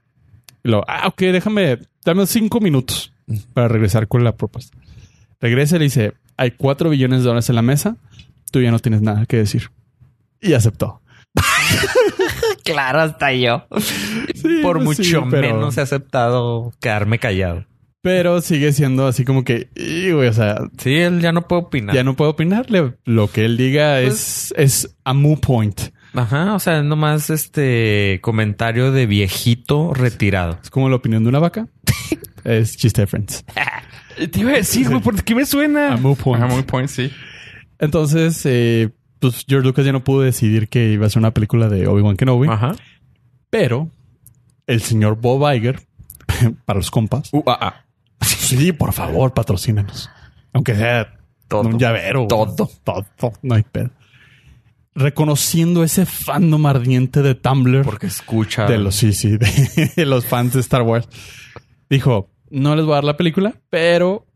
Speaker 2: Y luego, ah, ok, déjame, dame cinco minutos para regresar con la propuesta. Regresa y le dice, hay cuatro billones de dólares en la mesa, tú ya no tienes nada que decir. Y aceptó.
Speaker 4: <laughs> Claro, hasta yo.
Speaker 2: Sí,
Speaker 4: Por
Speaker 2: pues
Speaker 4: mucho
Speaker 2: sí, pero-
Speaker 4: menos he aceptado quedarme callado.
Speaker 2: Pero sigue siendo así como que, "Y, güey, o sea,
Speaker 4: Sí, él ya no puede opinar.
Speaker 2: ya no puedo opinarle. Lo que él diga
Speaker 4: Pues
Speaker 2: es, es a moo point.
Speaker 4: Ajá, o sea, es nomás este comentario de viejito retirado.
Speaker 2: Es como la opinión de una vaca. es chiste de Friends.
Speaker 1: Te iba a decir, güey, ¿por qué me suena?
Speaker 2: A moot point.
Speaker 1: Ajá, Ah, muy point, sí.
Speaker 2: Entonces, eh, pues George Lucas ya no pudo decidir que iba a ser una película de Obi-Wan Kenobi,
Speaker 4: Ajá.
Speaker 2: pero el señor Bob Iger, <laughs> para los compas,
Speaker 1: Uh, ah, ah.
Speaker 2: sí, por favor, patrocínanos. Aunque sea
Speaker 4: Todo.
Speaker 2: un llavero. güey.
Speaker 4: Todo.
Speaker 2: Todo. No hay pedo. Reconociendo ese fandom ardiente de Tumblr.
Speaker 4: Porque escucha.
Speaker 2: de los sí, sí, de, <laughs> de los fans de Star Wars. Dijo, no les voy a dar la película, pero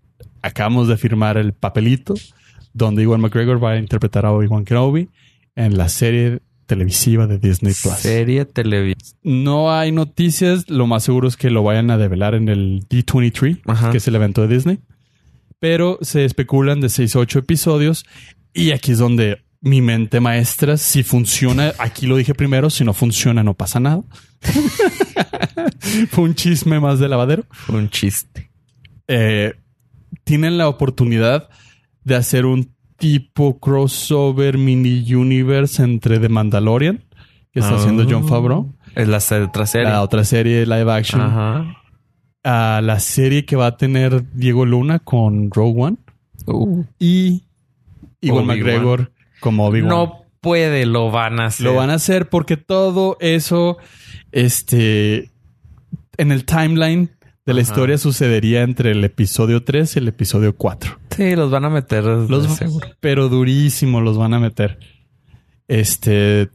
Speaker 2: acabamos de firmar el papelito donde Iwan McGregor va a interpretar a Obi-Wan Kenobi en la serie televisiva de Disney Plus.
Speaker 4: Serie televisiva.
Speaker 2: No hay noticias, lo más seguro es que lo vayan a develar en el D23,
Speaker 4: Ajá.
Speaker 2: que es el evento de Disney, pero se especulan de 6 a 8 episodios y aquí es donde mi mente maestra, si funciona, aquí lo dije primero, si no funciona no pasa nada. <laughs> Fue un chisme más de lavadero.
Speaker 4: Un chiste.
Speaker 2: Eh, tienen la oportunidad de hacer un tipo crossover mini universe entre The Mandalorian, que está
Speaker 4: Ah.
Speaker 2: haciendo John Favreau,
Speaker 4: Es la se- otra serie.
Speaker 2: la otra serie live action,
Speaker 4: Ajá.
Speaker 2: a la serie que va a tener Diego Luna con Rogue One
Speaker 4: Uh.
Speaker 2: y Iwan
Speaker 4: Obi-Wan.
Speaker 2: McGregor como Obi-Wan.
Speaker 4: No puede, lo van a hacer.
Speaker 2: Lo van a hacer porque todo eso, este, en el timeline de la
Speaker 4: Ajá.
Speaker 2: historia sucedería entre el episodio 3 y el episodio 4.
Speaker 4: Sí, los van a meter.
Speaker 2: Los,
Speaker 4: Los seguro.
Speaker 2: pero durísimo los van a meter. Este,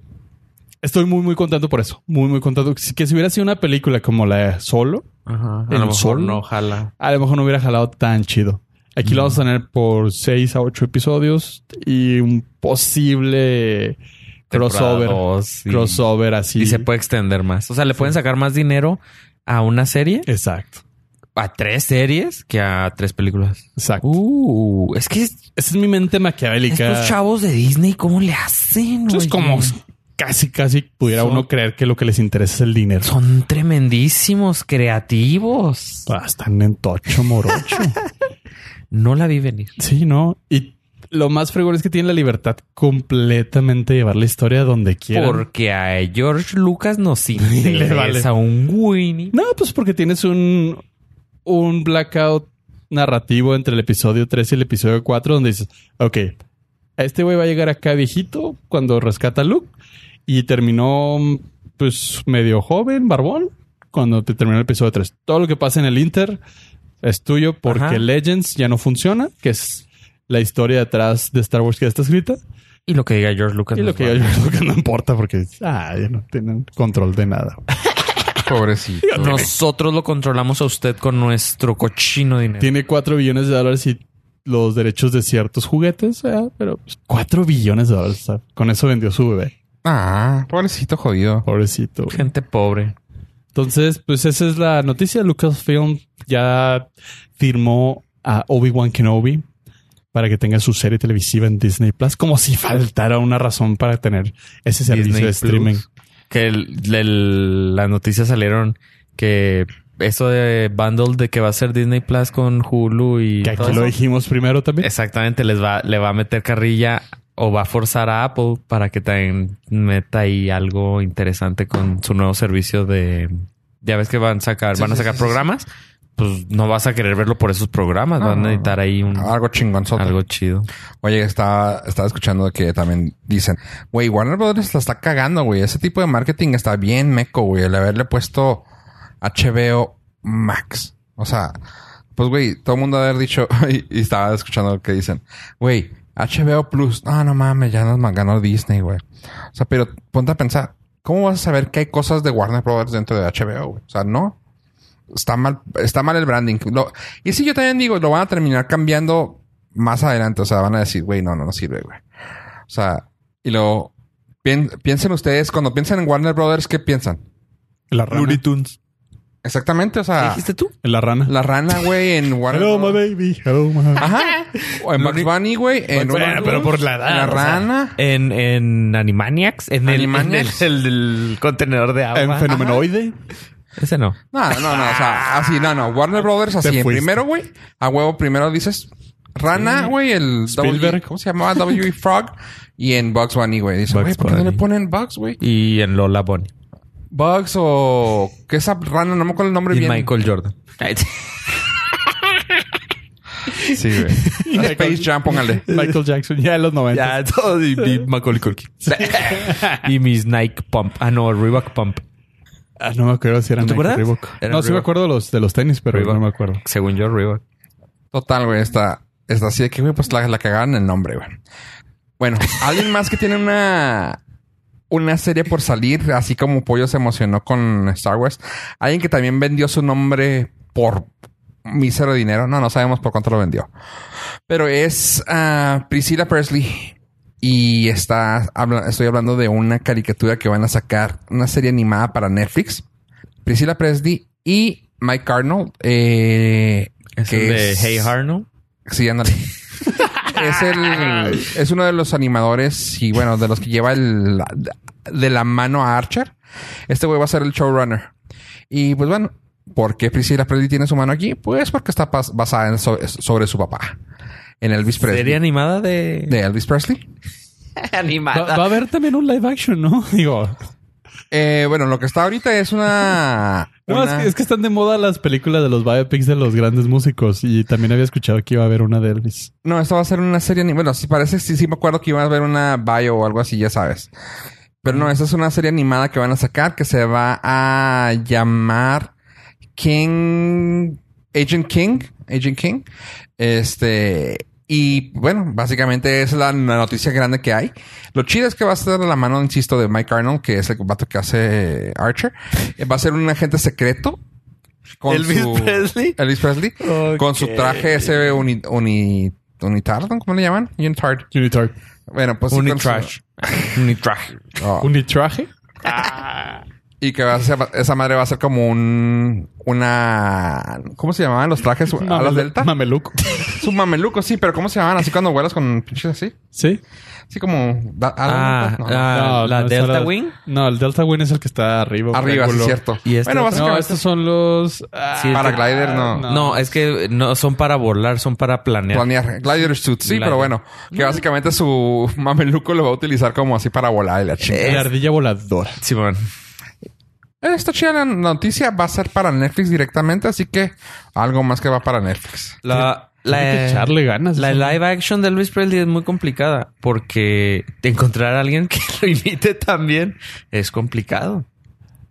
Speaker 2: estoy muy, muy contento por eso. Muy, muy contento. Si- Que si hubiera sido una película como la de Solo,
Speaker 4: Ajá. A
Speaker 2: ¿El
Speaker 4: lo mejor
Speaker 2: sol?
Speaker 4: no, ojalá.
Speaker 2: a lo mejor no hubiera jalado tan chido. Aquí lo vamos a tener por 6 a 8 episodios y un posible crossover.
Speaker 4: crossover.
Speaker 2: Crossover así.
Speaker 4: Y se puede extender más. O sea, le pueden sacar más dinero a una serie,
Speaker 2: Exacto.
Speaker 4: a tres series, que a tres películas.
Speaker 2: Exacto.
Speaker 4: Uh, es que es-
Speaker 2: Esa es mi mente maquiavélica.
Speaker 4: estos chavos de Disney, ¿cómo le hacen?
Speaker 2: Eso es
Speaker 4: oye?
Speaker 2: Pues como casi, casi pudiera
Speaker 4: Son-
Speaker 2: uno creer que lo que les interesa es el dinero.
Speaker 4: Son tremendísimos, creativos.
Speaker 2: Ah, están en
Speaker 4: <laughs>
Speaker 2: tocho morocho.
Speaker 4: No la vi venir.
Speaker 2: sí, ¿no? Y lo más fregón es que tienen la libertad completamente de llevar la historia donde quieran.
Speaker 4: Porque a George Lucas nos
Speaker 2: <laughs> Le
Speaker 4: interesa
Speaker 2: vale.
Speaker 4: un Winnie.
Speaker 2: No, pues porque tienes un, un blackout narrativo entre el episodio 3 y el episodio 4 donde dices, ok, este güey va a llegar acá viejito cuando rescata a Luke y terminó pues medio joven, barbón, cuando te terminó el episodio 3. Todo lo que pasa en el Inter es tuyo porque
Speaker 4: Ajá.
Speaker 2: Legends ya no funciona, que es la historia detrás de Star Wars que ya está escrita.
Speaker 4: Y lo que diga George Lucas.
Speaker 2: Y lo
Speaker 4: nos
Speaker 2: que
Speaker 4: vale.
Speaker 2: yo creo que no importa porque Pues ah, ya no tienen control de nada.
Speaker 1: Pobrecito.
Speaker 4: <laughs> Nosotros lo controlamos a usted con nuestro cochino dinero.
Speaker 2: Tiene 4 billones de dólares y los derechos de ciertos juguetes, ¿verdad? pero pues, 4 billones de dólares. ¿sabes? Con eso vendió su bebé.
Speaker 1: Ah, pobrecito jodido.
Speaker 2: Pobrecito. güey.
Speaker 4: Gente pobre.
Speaker 2: Entonces, pues esa es la noticia. Lucasfilm ya firmó a Obi-Wan Kenobi para que tenga su serie televisiva en Disney Plus, como si faltara una razón para tener ese servicio
Speaker 4: Disney
Speaker 2: de streaming.
Speaker 4: Plus. Que el- el- las noticias salieron que eso de bundle de que va a ser Disney Plus con Hulu y
Speaker 2: Que aquí
Speaker 4: todo
Speaker 2: lo
Speaker 4: eso,
Speaker 2: dijimos primero también.
Speaker 4: exactamente les va le va a meter carrilla o va a forzar a Apple para que también meta ahí algo interesante con su nuevo servicio de ya ves que van a sacar
Speaker 1: Sí,
Speaker 4: van a
Speaker 1: sí,
Speaker 4: sacar
Speaker 1: sí, sí,
Speaker 4: programas pues no vas a querer verlo por esos programas. Van a necesitar ahí un,
Speaker 1: Algo chingonzote.
Speaker 4: algo chido.
Speaker 1: Oye, estaba, estaba escuchando que también dicen, güey, Warner Brothers la está cagando, güey. Ese tipo de marketing está bien meco, güey. El haberle puesto HBO Max. O sea, pues, güey, todo el mundo ha de haber dicho, <laughs> y, y estaba escuchando lo que dicen, güey, HBO Plus. No, no mames, ya nos ganó Disney, güey. O sea, pero ponte a pensar, ¿cómo vas a saber que hay cosas de Warner Brothers dentro de HBO, güey? O sea, no. Está mal, está mal el branding. Lo- y sí, yo también digo, lo van a terminar cambiando más adelante. O sea, van a decir, güey, no, no, no sirve, güey. O sea, y luego pien- piensen ustedes, cuando piensan en Warner Brothers, ¿qué piensan?
Speaker 2: La rana.
Speaker 5: Looney Tunes.
Speaker 1: Exactamente, o sea,
Speaker 4: tú?
Speaker 2: La rana.
Speaker 1: la rana, güey, en Warner
Speaker 2: Hello, my
Speaker 1: Brothers.
Speaker 2: baby. Hello, my <laughs>
Speaker 1: Ajá. O en Bugs Bunny, güey. En
Speaker 2: Bueno,
Speaker 1: Warner
Speaker 2: pero por la
Speaker 1: Bros.
Speaker 2: edad,
Speaker 1: La
Speaker 2: o sea.
Speaker 1: rana.
Speaker 4: En, en Animaniacs, en, el- en
Speaker 1: Animaniacs.
Speaker 4: El, el- el contenedor de agua.
Speaker 2: En fenomenoide.
Speaker 4: Ese no.
Speaker 1: No, no, no. O sea, así, no, no. Warner Brothers, así.
Speaker 2: Te
Speaker 1: En
Speaker 2: fuiste.
Speaker 1: primero, güey. A huevo, primero dices rana, güey. El
Speaker 2: Spielberg.
Speaker 1: W, E, ¿Cómo se llamaba? W E Frog. Y en Bugs Bunny, güey. Dices,
Speaker 4: Bugs
Speaker 1: güey, ¿por qué no
Speaker 4: Bunny.
Speaker 1: le ponen Bugs, güey?
Speaker 4: Y en Lola Bonnie.
Speaker 1: Bugs o... ¿Qué esa rana? No me acuerdo el nombre
Speaker 4: Y en
Speaker 1: bien. <laughs>
Speaker 4: Michael Jordan.
Speaker 1: Sí, güey. Space Jam,
Speaker 2: <laughs>
Speaker 1: póngale.
Speaker 2: Michael Jackson. Ya en los 90.
Speaker 4: ya, <laughs> todo. Y, y Macaulay Culkin. <laughs> y mis Nike Pump. Ah, no, Reebok Pump.
Speaker 2: Ah, no me acuerdo si eran
Speaker 4: ¿Tú te
Speaker 2: Nike,
Speaker 4: acuerdas?
Speaker 2: Reebok.
Speaker 4: Eran
Speaker 2: No, sí me
Speaker 4: Reebok.
Speaker 2: acuerdo los, de los tenis, pero
Speaker 4: Reebok.
Speaker 2: no me acuerdo.
Speaker 4: Según yo, Reebok.
Speaker 1: Total, güey. Está, está así de que, güey, pues la, la cagaron el nombre, güey.
Speaker 4: <laughs>
Speaker 1: Bueno, alguien más que tiene una... Una serie por salir, así como Pollo se emocionó con Star Wars. Alguien que también vendió su nombre por mísero dinero. No, no sabemos por cuánto lo vendió. Pero es ah, Priscilla Presley. Y está, habla- estoy hablando de una caricatura que van a sacar, una serie animada para Netflix. Priscilla Presley y Mike Arnold. eh,
Speaker 4: Es el de Hey Arnold.
Speaker 1: Sí, ándale. es el... Es uno de los animadores y, bueno, de los que lleva el... la- De la mano a Archer. Este güey va a ser el showrunner. Y, pues, bueno... ¿Por qué Priscilla Presley tiene su mano aquí? Pues porque está pas- basada en so- sobre su papá. En Elvis Presley.
Speaker 4: Serie animada de...
Speaker 1: De Elvis Presley.
Speaker 2: Va,
Speaker 4: animada.
Speaker 2: va a haber también un live action, ¿no? <laughs> Digo,
Speaker 1: Eh, bueno, lo que está ahorita es una...
Speaker 2: no, es,
Speaker 1: una-
Speaker 2: que, es que están de moda las películas de los biopics de los grandes músicos y también había escuchado que iba a haber una de Elvis.
Speaker 1: No, esta va a ser una serie... ani- Bueno, sí parece... Sí, sí me acuerdo que iba a haber una bio o algo así, ya sabes. Pero no, esta es una serie animada que van a sacar que se va a llamar King... Agent King. Agent King. Este... Y bueno, básicamente es la la noticia grande que hay. Lo chido es que va a estar a la mano, insisto, de Mike Arnold, que es el vato que hace Archer. Eh, Va a ser un agente secreto. con
Speaker 4: Elvis
Speaker 1: su-
Speaker 4: Presley.
Speaker 1: Elvis Presley. Con su traje ese uni, uni, unitard, ¿no? ¿cómo le llaman? Unitard.
Speaker 2: Unitar.
Speaker 1: Bueno, pues... sí, con su-
Speaker 4: Unitrash. <laughs> Unitrash.
Speaker 1: Oh.
Speaker 2: ¿Unitraje?
Speaker 1: Y que va a ser- esa madre va a ser como un... Una... ¿Cómo se llamaban los trajes? ¿A las
Speaker 2: Mamelu-
Speaker 1: delta?
Speaker 2: Mameluco.
Speaker 1: Es un mameluco, sí. Pero ¿cómo se llamaban? Así cuando vuelas con pinches así.
Speaker 2: ¿Sí?
Speaker 1: Así como... da-
Speaker 4: Ah,
Speaker 1: ala- no.
Speaker 4: ah,
Speaker 2: No,
Speaker 4: la
Speaker 2: no, esa
Speaker 4: Delta
Speaker 2: era-
Speaker 4: Wing.
Speaker 2: No, el Delta Wing es el que está arriba. un
Speaker 1: Arriba, sí,
Speaker 2: triángulo.
Speaker 1: es cierto.
Speaker 4: ¿Y este
Speaker 1: bueno,
Speaker 4: otro?
Speaker 2: No,
Speaker 1: básicamente...
Speaker 2: estos son los... ah,
Speaker 4: Sí, el-
Speaker 1: Paraglider, no.
Speaker 4: No, es que no son para volar, son para planear.
Speaker 1: Planear. Glider suit, sí,
Speaker 4: Glider.
Speaker 1: pero bueno. Que básicamente su <laughs> mameluco lo va a utilizar como así para volar y la chingada.
Speaker 2: La ardilla voladora.
Speaker 4: Simón.
Speaker 1: Eh, Está chida la noticia. Va a ser para Netflix directamente, así que algo más que va para Netflix.
Speaker 4: La,
Speaker 2: Hay que
Speaker 4: la,
Speaker 2: echarle ganas.
Speaker 4: la
Speaker 2: eso.
Speaker 4: live action de Luis Presley es muy complicada porque encontrar a alguien <laughs> que lo imite también es complicado.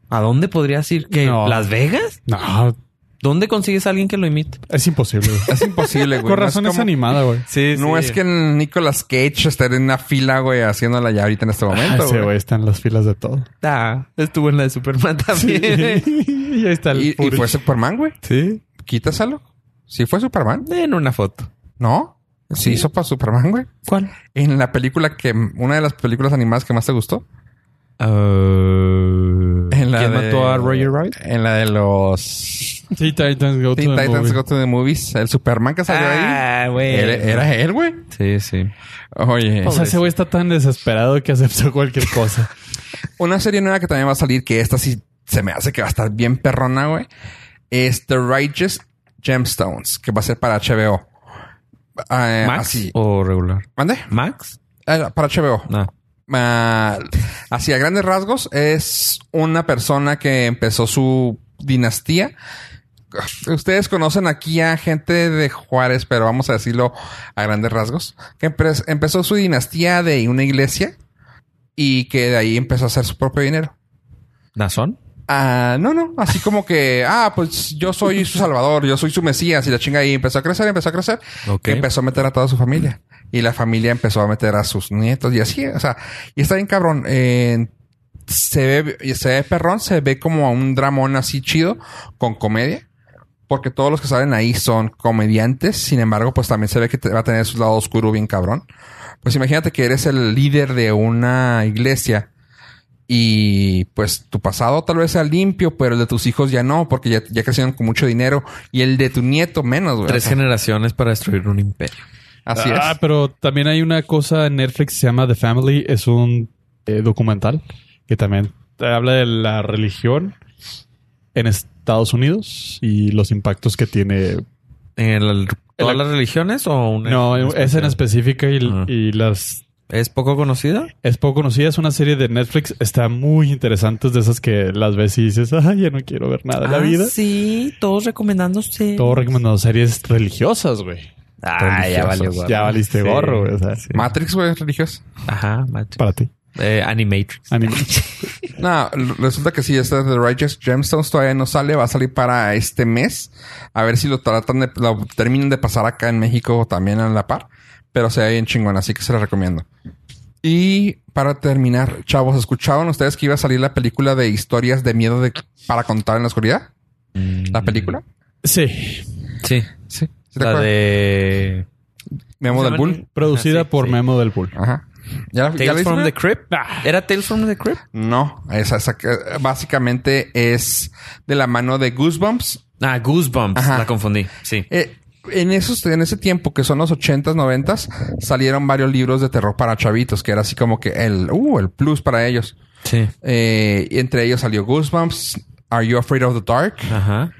Speaker 4: ¿A dónde podrías ir? ¿Que
Speaker 2: No.
Speaker 4: ¿Las Vegas?
Speaker 2: No,
Speaker 4: ¿Dónde consigues a alguien que lo imite?
Speaker 2: es imposible. güey.
Speaker 1: Es imposible, güey.
Speaker 2: Con
Speaker 1: No
Speaker 2: razón
Speaker 1: es,
Speaker 2: es,
Speaker 1: como-
Speaker 2: animada, güey.
Speaker 4: Sí,
Speaker 1: No es que el Nicolas Cage esté en una fila, güey, haciéndola ya ahorita en este
Speaker 2: Ah,
Speaker 1: momento.
Speaker 2: Ese
Speaker 1: güey.
Speaker 2: güey está en las filas
Speaker 1: <laughs>
Speaker 2: de todo.
Speaker 4: Ah, estuvo en la de Superman
Speaker 2: Sí.
Speaker 4: también. <laughs>
Speaker 2: y ahí está el
Speaker 1: Y, pues, y
Speaker 2: footage.
Speaker 1: fue Superman, güey.
Speaker 4: Sí.
Speaker 1: Quítaselo. Sí fue Superman.
Speaker 4: En una foto.
Speaker 1: No. Sí hizo para Superman, güey.
Speaker 4: ¿Cuál?
Speaker 1: En la película que... Una de las películas animadas que más te gustó. En la
Speaker 4: ¿Quién
Speaker 1: de-
Speaker 4: mató a Roger Rabbit?
Speaker 1: En la de los...
Speaker 2: Teen Titans Go
Speaker 1: Teen
Speaker 2: to the
Speaker 1: Titans
Speaker 2: Movie.
Speaker 1: Go to the Movies. El Superman que salió ahí.
Speaker 4: Ah, güey.
Speaker 1: Era, era él, güey.
Speaker 4: Sí, sí.
Speaker 1: Oye.
Speaker 2: O sea, ese güey está tan desesperado que aceptó <laughs> cualquier cosa.
Speaker 1: Una serie nueva que también va a salir, que esta sí se me hace que va a estar bien perrona, güey. Es The Righteous Gemstones, que va a ser para HBO. Eh,
Speaker 4: ¿Max
Speaker 1: Así.
Speaker 4: o regular?
Speaker 1: ¿Mande?
Speaker 4: ¿Max?
Speaker 1: Eh, para HBO.
Speaker 4: No.
Speaker 1: Ah, así a grandes rasgos, es una persona que empezó su dinastía ustedes conocen aquí a gente de Juárez, pero vamos a decirlo a grandes rasgos, que empe- empezó su dinastía de una iglesia y que de ahí empezó a hacer su propio dinero.
Speaker 4: ¿Nazón?
Speaker 1: Ah, no, no. Así como que, ah, pues yo soy su salvador, yo soy su mesías y la chinga ahí empezó a crecer, empezó a crecer.
Speaker 4: Ok.
Speaker 1: Que empezó a meter a toda su familia. Y la familia empezó a meter a sus nietos y así, o sea, y está bien cabrón. Eh, se ve, y se ve perrón, se ve como a un dramón así chido con comedia. Porque todos los que salen ahí son comediantes. Sin embargo, pues también se ve que te- va a tener su lado oscuro bien cabrón. Pues imagínate que eres el líder de una iglesia. Y pues tu pasado tal vez sea limpio, pero el de tus hijos ya no, porque ya, ya crecieron con mucho dinero. Y el de tu nieto menos, güey.
Speaker 4: Tres
Speaker 1: O sea,
Speaker 4: generaciones para destruir un imperio.
Speaker 1: Así
Speaker 2: ah,
Speaker 1: es.
Speaker 2: pero también hay una cosa en Netflix que se llama The Family. Es un eh, documental que también te habla de la religión en Estados Unidos y los impactos que tiene.
Speaker 4: ¿En el- todas
Speaker 2: El-
Speaker 4: las religiones o una?
Speaker 2: No, es en
Speaker 4: especial?
Speaker 2: específica y,
Speaker 4: Ah.
Speaker 2: y las
Speaker 4: ¿Es poco conocida?
Speaker 2: es poco conocida. Es una serie de Netflix. Está muy interesante. Es de esas que las ves y dices, ay, ya no quiero ver nada de la
Speaker 4: Ah,
Speaker 2: vida.
Speaker 4: Sí, todos recomendándose.
Speaker 2: Todo recomendado series religiosas, güey.
Speaker 4: Ah, ya valió gorro.
Speaker 2: Ya valiste
Speaker 4: Sí.
Speaker 2: gorro, güey. O sea,
Speaker 1: Matrix, güey, es religioso.
Speaker 4: Ajá, macho.
Speaker 2: para ti.
Speaker 4: Eh, Animatrix.
Speaker 2: Anime.
Speaker 1: No, l- resulta que sí, esta de Righteous Gemstones todavía no sale, va a salir para este mes. A ver si lo tratan de, lo terminan de pasar acá en México también a la par. Pero se ve bien chingón, así que se la recomiendo. Y para terminar, chavos, ¿escucharon ustedes que iba a salir la película de historias de miedo de, para contar en la oscuridad?
Speaker 4: Mm.
Speaker 1: ¿La película?
Speaker 2: Sí.
Speaker 4: Sí.
Speaker 1: Sí. ¿Sí te
Speaker 4: La
Speaker 1: acuerdas?
Speaker 4: de...
Speaker 1: Memo del Bull.
Speaker 2: Producida
Speaker 4: Ajá, Ah, sí,
Speaker 2: por
Speaker 4: sí.
Speaker 2: Memo del Bull.
Speaker 1: Ajá. ¿Ya, la- ya la
Speaker 4: Tales from
Speaker 1: viste?
Speaker 4: the Crypt. ¿Era Tales from the Crypt?
Speaker 1: No, esa, esa- básicamente es de la mano de Goosebumps
Speaker 4: Ah, Goosebumps.
Speaker 1: Ajá.
Speaker 4: La confundí. Sí.
Speaker 1: Eh, en, esos, en ese tiempo, que son los 80s, 90s, salieron varios libros de terror para chavitos, que era así como que el, uh, el plus para ellos.
Speaker 4: Sí.
Speaker 1: Eh, y entre ellos salió Goosebumps, Are You Afraid of the Dark?
Speaker 4: Ajá.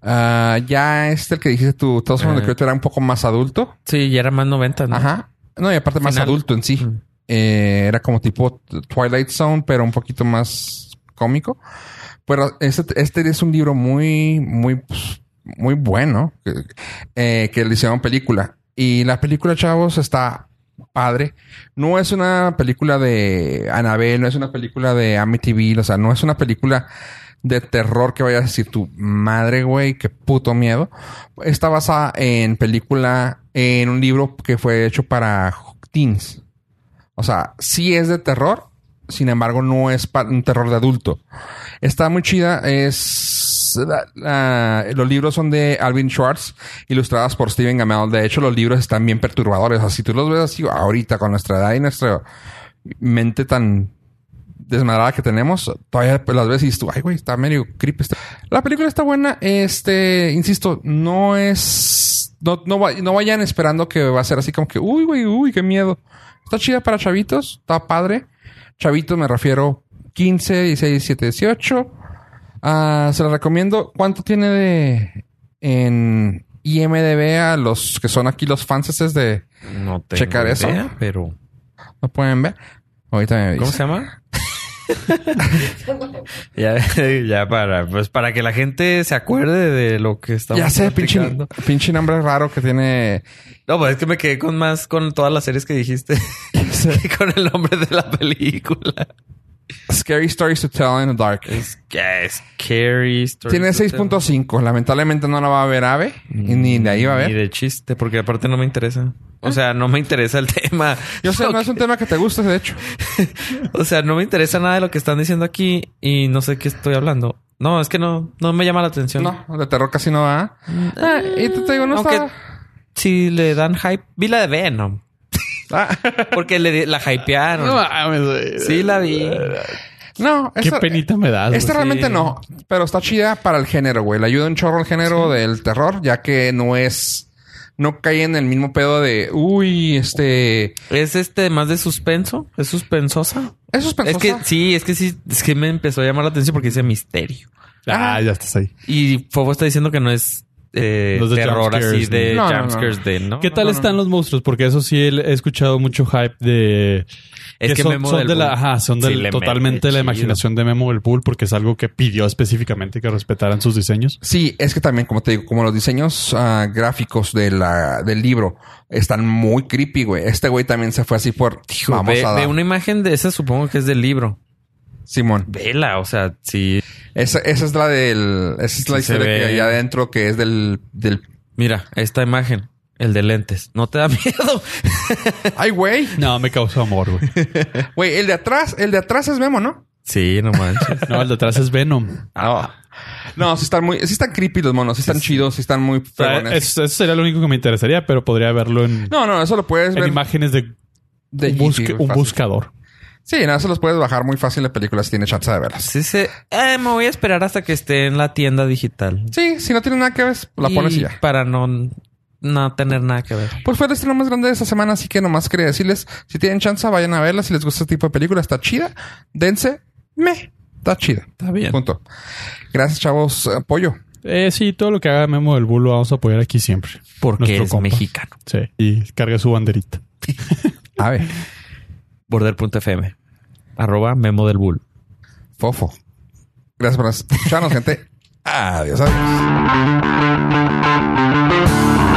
Speaker 1: Ah, ya este, el que dijiste tú, todos los
Speaker 4: Eh.
Speaker 1: que era un poco más adulto.
Speaker 4: Sí, ya era más 90, ¿no?
Speaker 1: Ajá. No, y aparte más
Speaker 4: Final.
Speaker 1: adulto en sí.
Speaker 4: Mm.
Speaker 1: Eh, era como tipo Twilight Zone, pero un poquito más cómico. Pero este, este es un libro muy, muy, pues, muy bueno que, eh, que le hicieron película. Y la película, chavos, está padre. No es una película de Annabelle, no es una película de Amityville, o sea, no es una película de terror que vayas a decir tu madre, güey, qué puto miedo. Está basada en película, en un libro que fue hecho para teens. O sea, sí es de terror, sin embargo, no es pa- un terror de adulto. Está muy chida, es. la- la- los libros son de Alvin Schwartz, ilustradas por Steven Gamel. De hecho, los libros están bien perturbadores. Así tú los ves así ahorita, con nuestra edad y nuestra mente tan desmadrada que tenemos, todavía pues, las ves y dices tú, ay, güey, está medio creepy. este". La película está buena. Este, insisto, no es. No, no, va- no vayan esperando que va a ser así como que, uy, güey, uy, qué miedo. Está chida para chavitos, está padre. Chavitos me refiero 15, 16, 17, 18. Ah, se los recomiendo. ¿Cuánto tiene de en IMDB a los que son aquí los fans esos de
Speaker 4: No tengo
Speaker 1: Checar eso.
Speaker 4: idea, pero...
Speaker 1: no pueden ver? Ahorita me
Speaker 4: ¿Cómo
Speaker 1: dicen.
Speaker 4: se llama? <laughs> ya, <laughs> ya para... Pues para que la gente se acuerde de lo que estamos
Speaker 1: Ya sé, pinche,
Speaker 4: platicando.
Speaker 1: pinche nombre raro que tiene.
Speaker 4: No, pues es que me quedé con más con todas las series que dijiste. <laughs> que con el nombre de la película.
Speaker 1: Scary Stories to Tell in the Dark.
Speaker 4: Es que es Scary Story.
Speaker 1: Tiene 6.5. Lamentablemente no la va a ver Ave. y Ni de ahí va a
Speaker 4: Ni
Speaker 1: ver.
Speaker 4: de chiste, porque aparte no me interesa. O sea, no me interesa el <laughs> tema.
Speaker 1: Yo sé,
Speaker 4: Lo
Speaker 1: no es un tema que te guste, de hecho.
Speaker 4: que- O sea, no me interesa nada de lo que están diciendo aquí y no sé qué estoy hablando. No, es que no, no me llama la atención.
Speaker 1: No, de terror casi no va. Ah, y te, te digo, no
Speaker 4: Aunque-
Speaker 1: está-
Speaker 4: Si le dan hype, vi la de Venom.
Speaker 1: Ah,
Speaker 4: Porque le, di- la hypearon. sí, la vi.
Speaker 1: <laughs> No,
Speaker 2: Qué
Speaker 1: esta,
Speaker 2: penita me das.
Speaker 1: esta
Speaker 2: güey.
Speaker 1: realmente
Speaker 4: sí.
Speaker 1: no. Pero está chida para el género, güey. Le ayuda un chorro al género del terror, ya que no es. No cae en el mismo pedo de. Uy, este.
Speaker 4: <laughs> ¿Es este más de suspenso? ¿Es suspensosa?
Speaker 1: Eso es
Speaker 4: Es
Speaker 1: pensosa.
Speaker 4: que sí, es que sí, es que me empezó a llamar la atención porque dice misterio.
Speaker 2: Ah, ya estás ahí.
Speaker 4: Y Fobo está diciendo que no es eh,
Speaker 2: Los de
Speaker 4: terror
Speaker 2: jumpscares,
Speaker 4: así de
Speaker 1: ¿no? No, no, no.
Speaker 4: jumpscares de no.
Speaker 2: ¿Qué
Speaker 1: no,
Speaker 2: tal
Speaker 1: no,
Speaker 2: están
Speaker 1: no.
Speaker 2: los monstruos? Porque eso sí he he escuchado mucho hype de...
Speaker 4: Es que,
Speaker 2: son,
Speaker 4: Memo
Speaker 2: son
Speaker 4: del
Speaker 2: de la,
Speaker 4: Bull
Speaker 2: ajá, son
Speaker 4: sí
Speaker 2: del-
Speaker 4: le mete
Speaker 2: totalmente la
Speaker 4: chido.
Speaker 2: imaginación de Memo del Bull porque es algo que pidió específicamente que respetaran sus diseños.
Speaker 1: Sí, es que también, como te digo, como los diseños ah, gráficos de la, del libro están muy creepy, güey. Este güey también se fue así por...
Speaker 4: Hijo,
Speaker 1: vamos
Speaker 4: ve,
Speaker 1: a
Speaker 4: ve
Speaker 1: dar.
Speaker 4: una imagen de esa, supongo que es del libro.
Speaker 1: Simón.
Speaker 4: Vela, o sea, sí.
Speaker 1: Esa, esa es la del... Esa es la
Speaker 4: Sí, se
Speaker 1: historia que
Speaker 4: ve.
Speaker 1: hay adentro que es del... del...
Speaker 4: Mira, esta imagen, el de lentes. ¿No te da <laughs> miedo?
Speaker 1: ¡Ay, güey!
Speaker 2: No, me causó amor, güey.
Speaker 1: Güey, el de atrás, el de atrás es Memo, ¿no?
Speaker 4: Sí, no manches.
Speaker 2: No, el de atrás es Venom.
Speaker 4: <laughs>
Speaker 1: No, sí están muy... Sí están creepy los monos. Sí están chidos. Sí están muy...
Speaker 2: O sea,
Speaker 1: fregones.
Speaker 2: eso, eso sería lo único que me interesaría, pero podría verlo en,
Speaker 1: No, no, eso lo puedes
Speaker 2: en
Speaker 1: ver
Speaker 2: imágenes de,
Speaker 1: de
Speaker 2: un,
Speaker 1: YouTube,
Speaker 2: busque- un
Speaker 1: fácil.
Speaker 2: buscador.
Speaker 1: Sí, no, eso los puedes bajar muy fácil de películas si tienes chance de verlas.
Speaker 4: Sí, se, eh, me voy a esperar hasta que esté en la tienda digital.
Speaker 1: Sí, si no tienes nada que ver, la
Speaker 4: Y
Speaker 1: pones y ya.
Speaker 4: Para no, no tener nada que ver.
Speaker 1: Pues fue el estreno más grande de esta semana, así que nomás quería decirles, si tienen chance, vayan a verla. Si les gusta este tipo de película, está chida. Dense, me, está chida.
Speaker 4: Está bien.
Speaker 1: Punto. Gracias, chavos. Apoyo.
Speaker 2: Eh, sí, todo lo que haga Memo del Bull lo vamos a apoyar aquí siempre.
Speaker 4: Porque
Speaker 2: Nuestro
Speaker 4: es
Speaker 2: compa.
Speaker 4: mexicano.
Speaker 2: Sí. Y carga su banderita.
Speaker 1: A ver,
Speaker 4: Border.fm. Arroba Memo del Bull.
Speaker 1: fofo. Gracias por escucharnos, gente. Adiós. adiós.